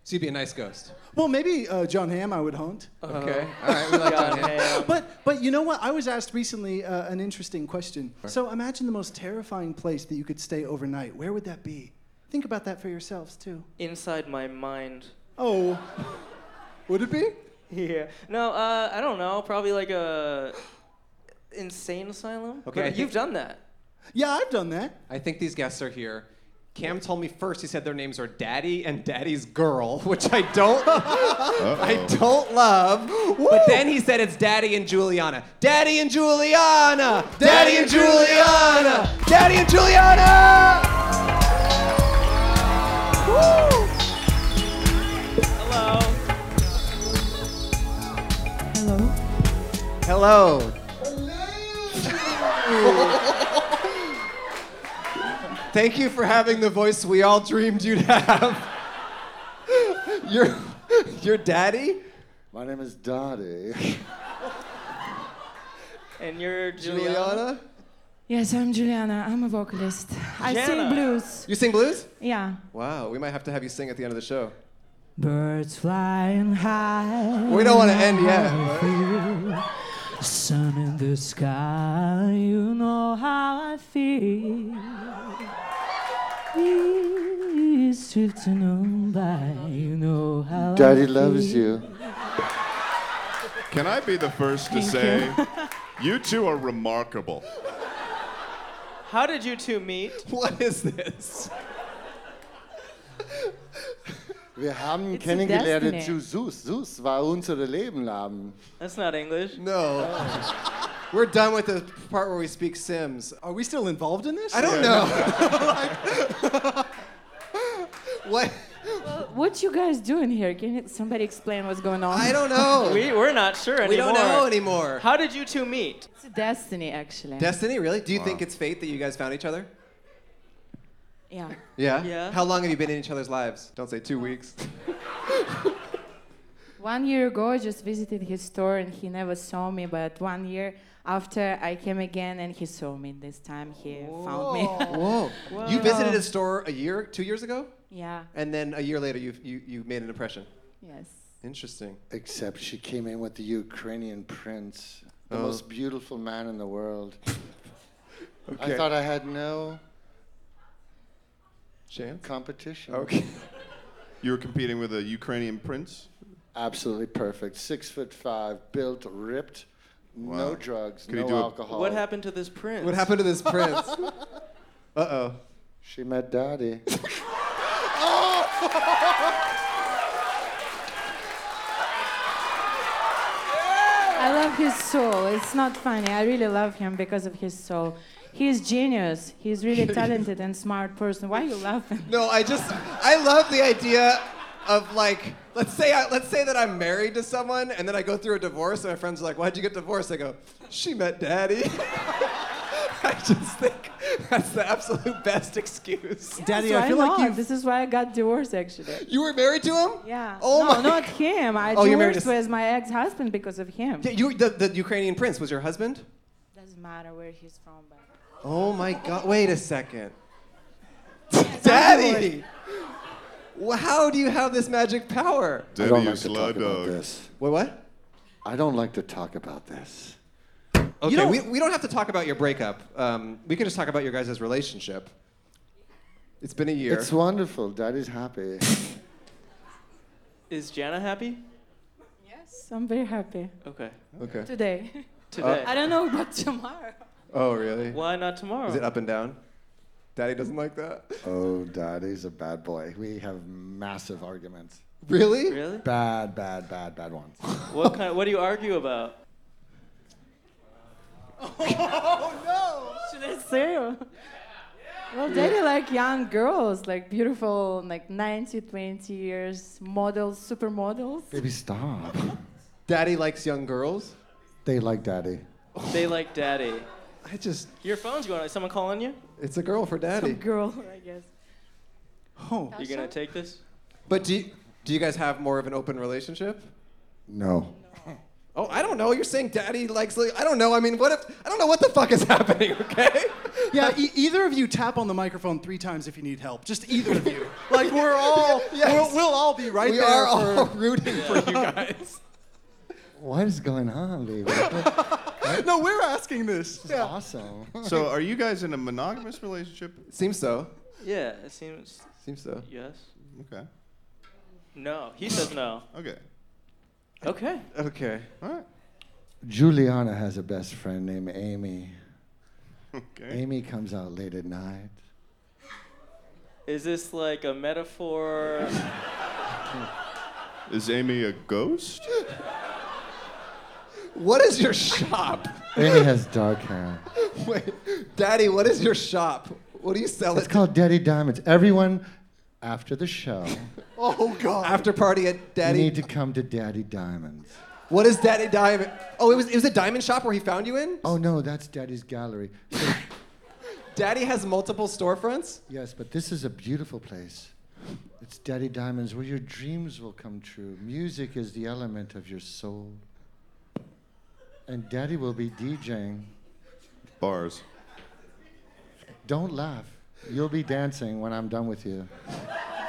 S2: So you'd be a nice ghost.
S16: Well, maybe uh, John Hamm I would haunt.
S2: Okay. Uh-huh. (laughs) All right. We like John Hamm.
S16: But but you know what? I was asked recently uh, an interesting question. So imagine the most terrifying place that you could stay overnight. Where would that be? Think about that for yourselves too.
S1: Inside my mind.
S16: Oh, would it be?
S1: Yeah. No, uh, I don't know. Probably like a insane asylum.
S2: Okay, I
S1: But You've
S2: think-
S1: done
S2: (laughs)
S1: that.
S16: Yeah, I've done that.
S2: I think these guests are here. Cam told me first. He said their names are Daddy and Daddy's Girl, (laughs) which I don't, I don't love. But then he said it's Daddy and Juliana. Daddy and Juliana. Daddy and Juliana. Daddy and Juliana. Woo!
S1: Hello.
S2: Hello. Thank you for having the voice we all dreamed you'd have. your, your daddy?
S19: My name is Dottie.
S1: (laughs) And you're Juliana.
S2: Juliana?
S20: Yes, I'm Juliana. I'm a vocalist. I sing
S2: Jana.
S20: blues.
S2: You sing blues? (laughs)
S20: Yeah.
S2: Wow, we might have to have you sing at the end of the show.
S20: Birds flying high.
S2: We don't wanna end yet,
S20: yet. Sun in the sky, you know how I feel. It's drifting by, you know how I
S19: Oh, Daddy
S20: feel.
S2: (laughs)
S19: loves you.
S13: Can I be the first to
S20: Thank
S13: say, you two are remarkable.
S1: How did you two meet?
S2: What is this?
S19: Wir haben
S1: It's
S19: kennengelernt
S1: destiny.
S19: zu Zeus. Zeus war unsere Lebenlaben.
S1: That's not English.
S2: No. We're done with the part where we speak Sims.
S16: Are we still involved in this?
S2: I don't know. what?
S20: What you guys doing here? Can it, somebody explain what's going on?
S2: I don't know.
S1: (laughs) we, we're not sure anymore.
S2: We don't know anymore.
S1: How did you two meet?
S20: It's destiny, actually.
S2: (laughs) Destiny, really? Do you
S20: Wow.
S2: think it's fate that you guys found each other?
S20: Yeah.
S2: Yeah?
S20: Yeah. Oh.
S2: How long have you been in each other's lives? Don't say two weeks.
S20: One year ago, I just visited his store and he never saw me. But one year after, I came again and he saw me. This time, he found me.
S2: Whoa.
S20: (laughs)
S2: You visited a store a year, two years ago?
S20: Yeah.
S2: And then a year later, you, you, you made an impression.
S20: Yes.
S2: Interesting.
S19: Except she came in with the Ukrainian prince, the
S2: Oh.
S19: most beautiful man in the
S2: (laughs)
S19: world.
S2: Okay.
S19: I thought I had no
S2: Chance?
S19: competition.
S2: Okay. (laughs)
S13: You were competing with a Ukrainian prince?
S19: Absolutely perfect. Six foot five, built, ripped,
S13: Wow.
S19: no drugs,
S13: Could he
S19: no
S13: do a-
S19: alcohol.
S11: What happened to this prince?
S2: What happened to this
S1: (laughs)
S2: prince?
S19: Uh oh. She met
S2: (laughs)
S19: Daddy.
S20: I love his soul. It's not funny. I really love him because of his soul. He's genius. He's
S2: (laughs)
S20: really talented and smart person. Why you laughing?
S2: No, I just I love the idea of like let's say I, let's say that I'm married to someone and then I go through a divorce and my friends are like, "Why'd you get divorced?" I go, "She met daddy." (laughs) I just think that's the absolute best excuse.
S20: Yes, why not? This is why I got divorced, actually.
S2: You were married to him?
S20: Yeah.
S2: Oh
S20: no,
S2: my-
S20: not him. I
S2: (laughs) Oh, you're married
S20: divorced
S2: to s-
S20: with my ex-husband because of him.
S2: Yeah, you the, the Ukrainian prince was your husband?
S20: Doesn't matter where he's from, but
S2: Oh my god. Wait a second. daddy. Well, How do you have this magic power?
S19: I don't like to talk about this.
S2: Wait, what?
S19: I don't like to talk about this.
S2: Okay, we, we don't have to talk about your breakup. Um, we can just talk about your guys' relationship. It's been a year.
S19: It's wonderful. Daddy's
S2: (laughs)
S19: happy.
S11: Is Jana happy?
S20: yes, I'm very happy
S11: Okay.
S2: Okay.
S20: today.
S11: Today.
S20: I don't know about (laughs) tomorrow.
S2: Oh, really?
S11: Why not tomorrow?
S2: Is it up and down? Daddy doesn't like that?
S19: Oh, Daddy's a bad boy. We have massive arguments.
S2: Really?
S11: Really?
S19: Bad, bad, bad, bad
S2: (laughs)
S19: ones.
S11: What kind? What do you argue about?
S2: Oh,
S20: Should I say? Or? Well, daddy like young girls, like beautiful, like 90, 20 years, models, supermodels.
S19: Baby, stop.
S2: Daddy likes young girls?
S19: They like Daddy.
S11: They like daddy.
S2: I just.
S11: Your phone's going. Is someone calling you?
S2: It's a girl for daddy.
S20: girl, I guess.
S2: Oh.
S11: You gonna take this?
S2: But do you, do you guys have more of an open relationship?
S19: No.
S2: Oh, I don't know. You're saying daddy likes. li- I don't know. I mean, what if. I don't know what the fuck is (laughs) happening, okay?
S16: Yeah, e- either of you tap on the microphone three times if you need help. Just either of you. Like we're all,
S2: (laughs) Yes.
S16: we'll, we'll all be right
S2: we
S16: there.
S2: are
S16: for-
S2: all (laughs) rooting
S16: (laughs)
S2: for you guys.
S19: What is going on, baby?
S16: no, we're asking this.
S19: Yeah. Awesome. (laughs)
S13: So, are you guys in a monogamous relationship?
S2: Seems so.
S11: Yeah, it seems.
S2: Seems so.
S11: Yes.
S13: Okay.
S11: No. He says no.
S13: Okay.
S11: Okay.
S2: Okay.
S13: All right.
S19: Juliana has a best friend named Amy.
S13: Okay.
S19: Amy comes out late at night.
S11: Is this like a
S13: (laughs)
S11: metaphor?
S13: Is Amy a ghost?
S2: What is your shop? (laughs)
S19: Amy has dark hair.
S2: Wait, Daddy, what is your shop? What do you sell
S19: It's
S2: it?
S19: called Daddy Diamonds. Everyone, after the show,
S2: Oh God! After party at
S19: you
S2: Daddy.
S19: need to come to Daddy Diamonds.
S2: What is Daddy Diamond? Oh, it was it was a diamond shop where he found you in.
S19: Oh no, that's Daddy's gallery.
S2: (laughs) Daddy has multiple storefronts.
S19: Yes, but this is a beautiful place. It's Daddy Diamonds where your dreams will come true. Music is the element of your soul. And Daddy will be DJing.
S13: Bars.
S19: Don't laugh. You'll be dancing when I'm done with you.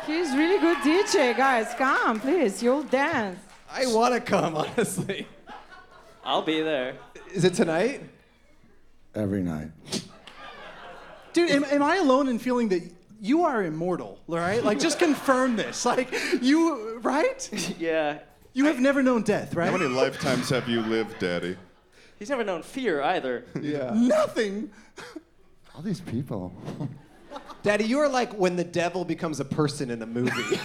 S20: He's really good DJ, guys. Come, please. You'll dance.
S2: I want to come, honestly.
S11: I'll be there.
S2: Is it tonight?
S19: Every night.
S16: Dude, am, am I alone in feeling that you are immortal, all right? Like, just confirm this. Like, you, right?
S11: (laughs) yeah.
S16: You have never known death,
S13: How many
S16: right?
S13: lifetimes have you lived,
S16: (laughs)
S13: Daddy?
S11: He's never known fear either.
S2: Yeah.
S16: Nothing.
S19: (laughs) All these people.
S2: Daddy, you are like when the devil becomes a person in a movie.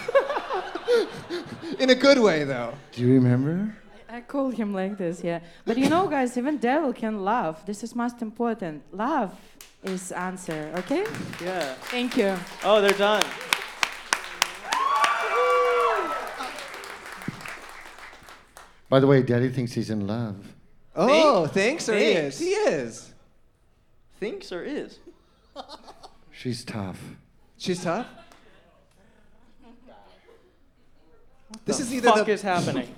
S2: (laughs) in a good way, though.
S19: Do you remember?
S20: I call him like this, yeah. But you know, guys, even devil can laugh. This is most important. Love is answer, okay?
S11: Yeah.
S20: Thank you.
S11: Oh, they're done.
S19: By the way, Daddy thinks he's in love.
S2: Oh, thanks, or he is.
S11: Thanks.
S2: He is.
S11: Thinks or is?
S19: She's tough.
S2: She's tough. This is either
S11: Fuck
S2: the
S11: is happening.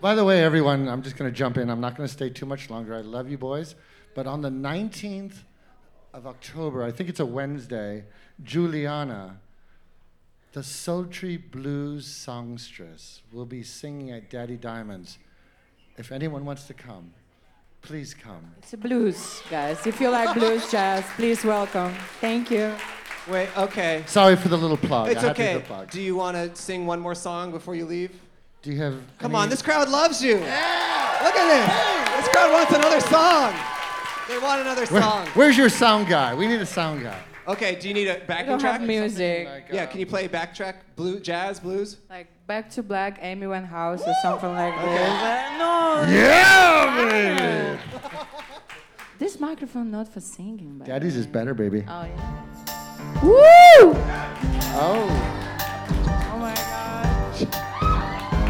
S19: By the way, everyone, I'm just going to jump in. I'm not going to stay too much longer. I love you boys. But on the 19th of October, I think it's a Wednesday, Juliana The sultry blues songstress will be singing at Daddy Diamond's. If anyone wants to come, please come.
S20: It's a blues, guys. If you like blues jazz, please welcome. Thank you.
S2: Wait, okay.
S19: Sorry for the little plug.
S2: It's
S19: I had to do
S2: okay.
S19: the plug.
S2: Do you want to sing one more song before you leave?
S19: Do you have?
S2: Come
S19: any-
S2: on, this crowd loves you. Look at this. This crowd wants another song. They want another
S19: (laughs) Where-
S2: song.
S19: where's your sound guy? We need a sound guy.
S2: Okay, do you need a backing
S20: don't have
S2: track?
S20: music.
S19: Oh
S20: Something
S2: yeah, can you play backtrack, blue, jazz, blues?
S20: Like Back to Black, Amy Winehouse, or something like this. No.
S19: Yeah, baby.
S20: This microphone not for singing, but
S19: Daddy's is better,
S20: oh
S19: baby.
S20: yeah.
S19: Woo!
S2: (laughs)
S19: Oh.
S20: Oh my god.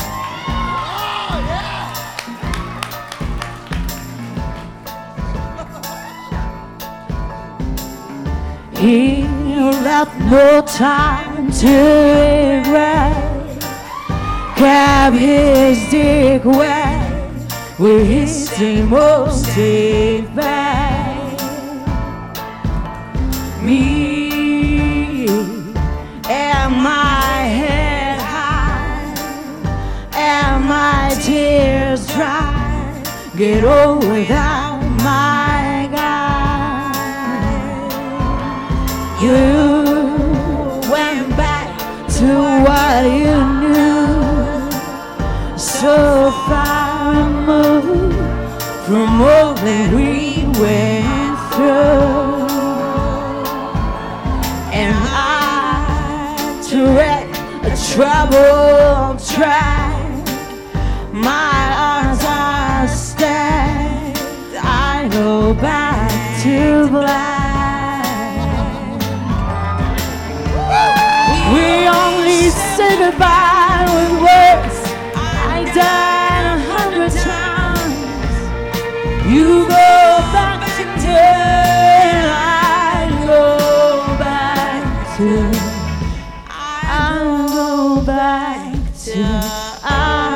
S3: He left no time to regret. Kept his dick wet with his emotive back. Me and my head high, and my tears dry. Get old without my guy. You went back to what you knew. So far removed from all that we went through. And I direct a troubled track. My arms are stacked. I go back to black. We only say goodbye with words. I died a hundred times. You go back to dirt. I go back to. I go back to.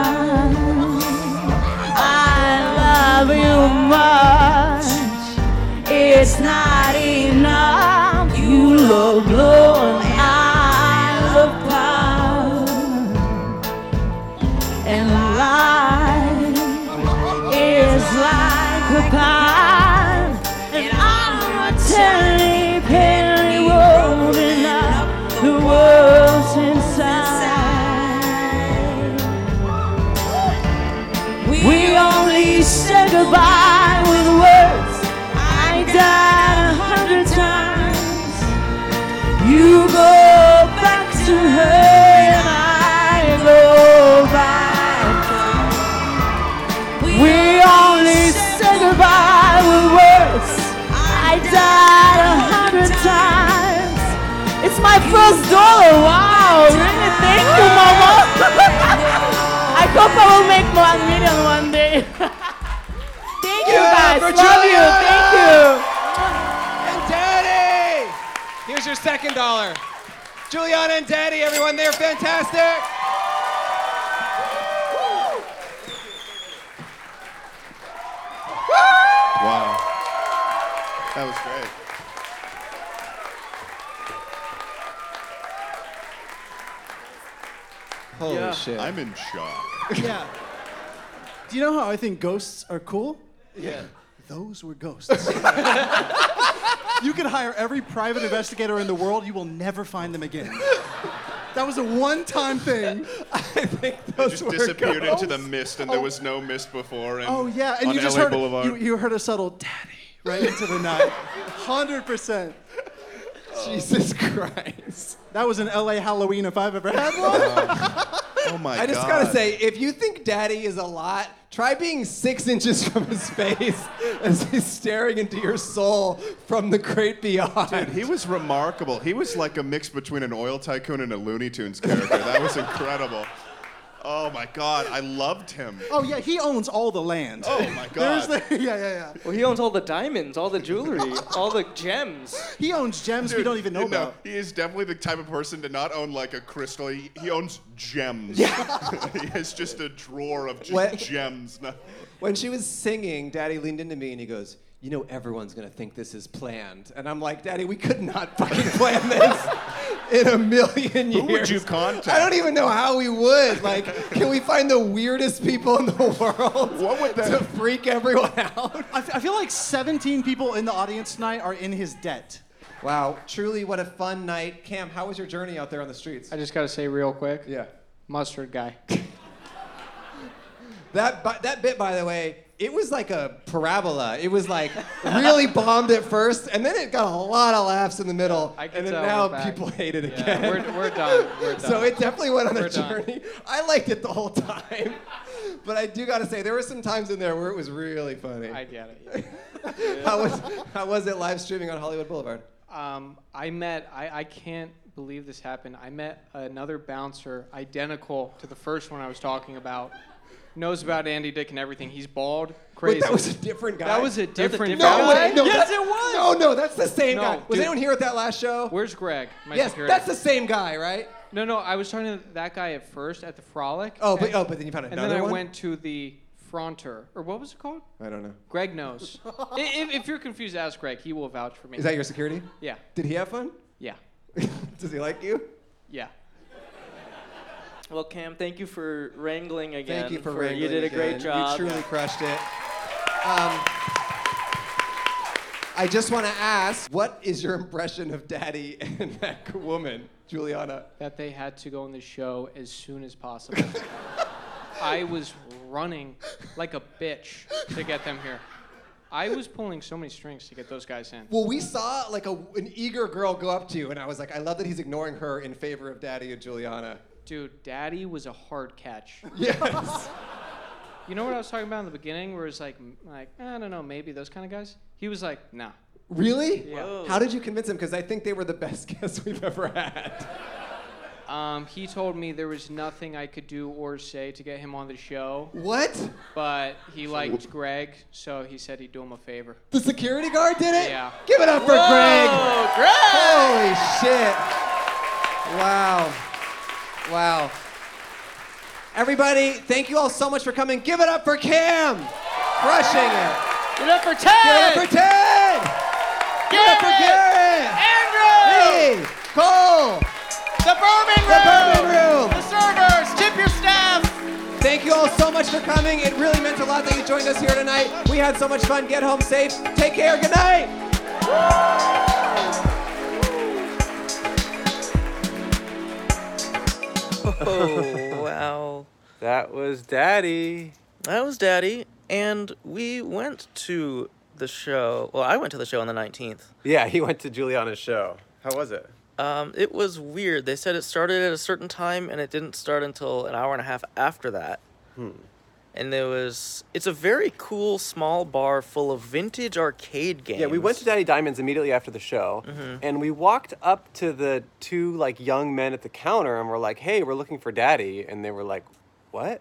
S3: I love you much. It's not enough. You love blue and I love purple. And life is like a pie. And I'm a tiny penny rolling up the world's inside. We only said goodbye with words. I died a hundred times. You go back to her, and I go back. We only said goodbye with words. I died a hundred times. It's my first dollar. Wow! Really? Thank you, Mama. (laughs) I hope I will make one million one day. (laughs) Thank you, guys. Love you. Thank you.
S2: And Daddy! Here's your second dollar. Juliana and Daddy, everyone, they're fantastic.
S13: Wow. That was great.
S2: Holy shit.
S13: I'm in shock.
S16: yeah. Do you know how I think ghosts are cool?
S2: Yeah.
S16: Those were ghosts.
S13: (laughs)
S16: you could hire every private investigator in the world, you will never find them again. That was a one time thing. (laughs)
S13: It just
S16: were
S13: disappeared into the
S16: ghosts.
S13: mist, and there was no mist before. And
S16: Oh, yeah, and
S13: on
S16: you just
S13: LA
S16: heard,
S13: Boulevard.
S16: you, you heard a subtle daddy right into the night. 100%. Jesus Christ. That was an LA Halloween if I've ever had one.
S13: Uh, oh my
S2: I just gotta say, if you think Daddy is a lot, try being six inches from his face (laughs) as he's staring into your soul from the great beyond.
S13: Dude, he was remarkable. He was like a mix between an oil tycoon and a Looney Tunes character. That was incredible. Oh my god, I loved him.
S16: Oh, yeah, he owns all the land.
S13: Oh my
S16: There's
S13: god.
S16: the, yeah, yeah, yeah.
S1: Well, he owns all the diamonds, all the jewelry,
S16: (laughs)
S1: all the gems.
S16: He owns gems we
S13: Dude,
S16: don't even know
S13: you
S16: about.
S13: He is definitely the type of person to not own like a crystal. He, he owns gems. (laughs) he has just a drawer of just
S2: What?
S13: gems. No-
S2: When she was singing, Daddy leaned into me and he goes, You know, everyone's gonna think this is planned. And I'm like, Daddy, we could not fucking plan this. in a million years.
S21: Who would you contact?
S2: I don't even know how we would. Like, can we find the weirdest people in the (laughs) world what would that... to freak everyone out?
S16: I, f- I feel like 17 people in the audience tonight are in his debt.
S2: Wow, truly what a fun night. Cam, how was your journey out there on the streets?
S5: I just gotta say real quick.
S2: Yeah.
S5: Mustard guy.
S2: (laughs) That bi- that bit, by the way, it was like a parabola. It was like really bombed at first, and then it got a lot of laughs in the middle,
S5: I can
S2: and then
S5: tell
S2: now
S5: we're back.
S2: people hate it
S5: Yeah,
S2: again.
S5: we're- we're done. We're
S2: so
S5: done.
S2: it definitely went on a
S5: We're done.
S2: journey. I liked it the whole time, but I do gotta say there were some times in there where it was really funny. I
S5: get it.
S2: (laughs) how was how was it live streaming on Hollywood Boulevard?
S5: Um, I met, I, I can't believe this happened. I met another bouncer identical to the first one I was talking about. Knows about Andy Dick and everything. He's bald, crazy.
S2: that was a different guy.
S5: That was a
S2: That's a
S5: different
S2: different
S5: guy.
S2: No way. No,
S5: yes,
S2: that-
S5: it was.
S2: no, no, that's the same guy. Was
S5: dude.
S2: anyone here at that last show?
S5: Where's Greg? My
S2: yes,
S5: security.
S2: that's the same guy, right?
S5: No, no, I was talking to that guy at first at the Frolic.
S2: Oh, but-
S5: and-
S2: oh, but then you found
S5: And
S2: another
S5: then
S2: one?
S5: I went to the Fronter, or what was it called?
S2: I don't know.
S5: Greg
S2: (laughs)
S5: knows. I- if, if you're confused, ask Greg. He will vouch for me.
S2: Is that your security?
S5: Yeah.
S2: Did he have fun? (laughs)
S5: Yeah.
S2: Does he like you?
S5: Yeah.
S1: Well, Cam, thank you for wrangling again.
S2: Thank you for wrangling.
S1: You did a
S2: again.
S1: great job.
S2: You truly crushed it. Um, I just want to ask, what is your impression of Daddy (laughs) and that woman, Juliana?
S5: That they had to go on the show as soon as
S2: (laughs)
S5: possible. I was running like a bitch to get them here. I was pulling so many strings to get those guys in.
S2: Well, we saw like a, an eager girl go up to you, and I was like, I love that he's ignoring her in favor of Daddy and Juliana.
S5: Dude, Daddy was a hard catch.
S2: (laughs) Yes.
S5: You know what I was talking about in the beginning, where it's like, m- like I don't know, maybe those kind of guys. He was like, nah.
S2: Really?
S5: Yeah.
S2: How did you convince him? Because I think they were the best (laughs) guests we've ever had.
S5: Um, he told me there was nothing I could do or say to get him on the show.
S2: What?
S5: But he liked Greg, so he said he'd do him a favor.
S2: The security guard did it?
S5: Yeah.
S2: Give it up for
S5: Whoa,
S2: Greg.
S5: Greg!
S2: Holy shit. Wow. Wow. Everybody, thank you all so much for coming. Give it up for Cam. Crushing it.
S1: Give it up for
S2: Give it up for Ted. Give it up for Garrett. Andrew. Lee. Cole.
S22: The bourbon room.
S2: The bourbon room.
S22: The servers. Tip your staff.
S2: Thank you all so much for coming. It really meant a lot that you joined us here tonight. We had so much fun. Get home safe. Take care. Good night.
S1: Oh, wow.
S23: That was Daddy.
S1: That was Daddy. And we went to the show. Well, I went to the show on the 19th.
S23: Yeah, he went to Juliana's show. How was it?
S1: Um, it was weird. They said it started at a certain time and it didn't start until an hour and a half after that.
S23: Hmm.
S1: And there was. It's a very cool small bar full of vintage arcade games.
S23: Yeah, we went to Daddy Diamonds immediately after the show, and we walked up to the two like young men at the counter, and we're like, "Hey, we're looking for Daddy," and they were like, "What?"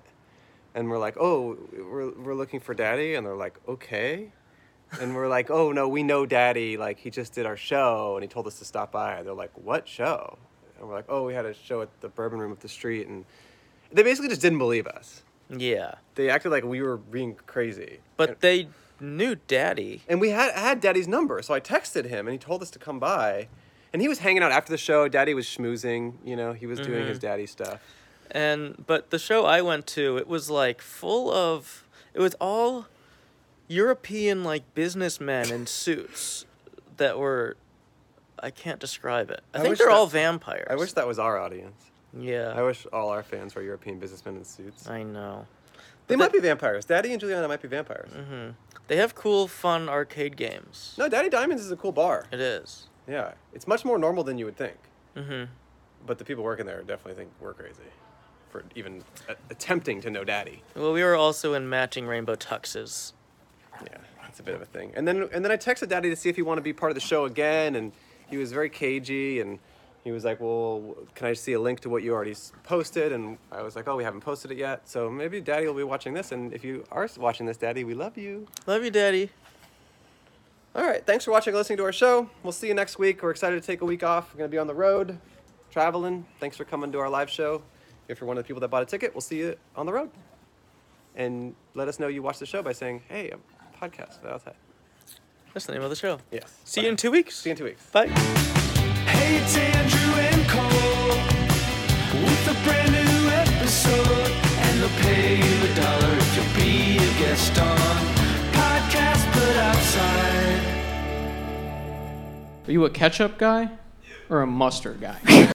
S23: And we're like, "Oh, we're we're looking for Daddy," and they're like, "Okay," and we're like, "Oh no, we know Daddy. Like he just did our show, and he told us to stop by." And they're like, "What show?" And we're like, "Oh, we had a show at the Bourbon Room up the street," and they basically just didn't believe us.
S1: Yeah.
S23: They acted like we were being crazy.
S1: But they knew Daddy.
S23: And we had had Daddy's number, so I texted him and he told us to come by. And he was hanging out after the show. Daddy was schmoozing, you know, he was doing
S1: Mhm.
S23: his daddy stuff.
S1: And but the show I went to, it was like full of it was all European like businessmen in suits that were I can't describe it. I, think
S23: wish
S1: they're
S23: that-
S1: all vampires.
S23: I wish that was our audience.
S1: Yeah.
S23: I wish all our fans were European businessmen in suits.
S1: I know.
S23: They might be vampires. Daddy and Juliana might be vampires.
S1: Mm-hmm. They have cool, fun arcade games.
S23: No, Daddy Diamonds is a cool bar.
S1: It is.
S23: Yeah. It's much more normal than you would think.
S1: Mm-hmm.
S23: But the people working there definitely think we're crazy for even a- attempting to know Daddy.
S1: Well, we were also in matching rainbow tuxes.
S23: Yeah, it's a bit of a thing. And then and then I texted Daddy to see if he wanted to be part of the show again, and he was very cagey and. He was like, "Well, can I see a link to what you already s- posted?" And I was like, "Oh, we haven't posted it yet, so maybe Daddy will be watching this. And if you are s- watching this, Daddy, we love you.
S1: Love you, Daddy.
S23: All right, thanks for watching and listening to our show. We'll see you next week. We're excited to take a week off. We're gonna be on the road, traveling. Thanks for coming to our live show. If you're one of the people that bought a ticket, we'll see you on the road. And let us know you watched the show by saying, "Hey, a podcast about that."
S1: That's the name of the show.
S23: Yes.
S1: See you in two weeks.
S23: you
S1: See
S23: in two weeks.
S1: Bye.
S3: Hey, it's Andrew and Cole.
S2: (laughs)
S5: Are you a ketchup guy or a mustard guy?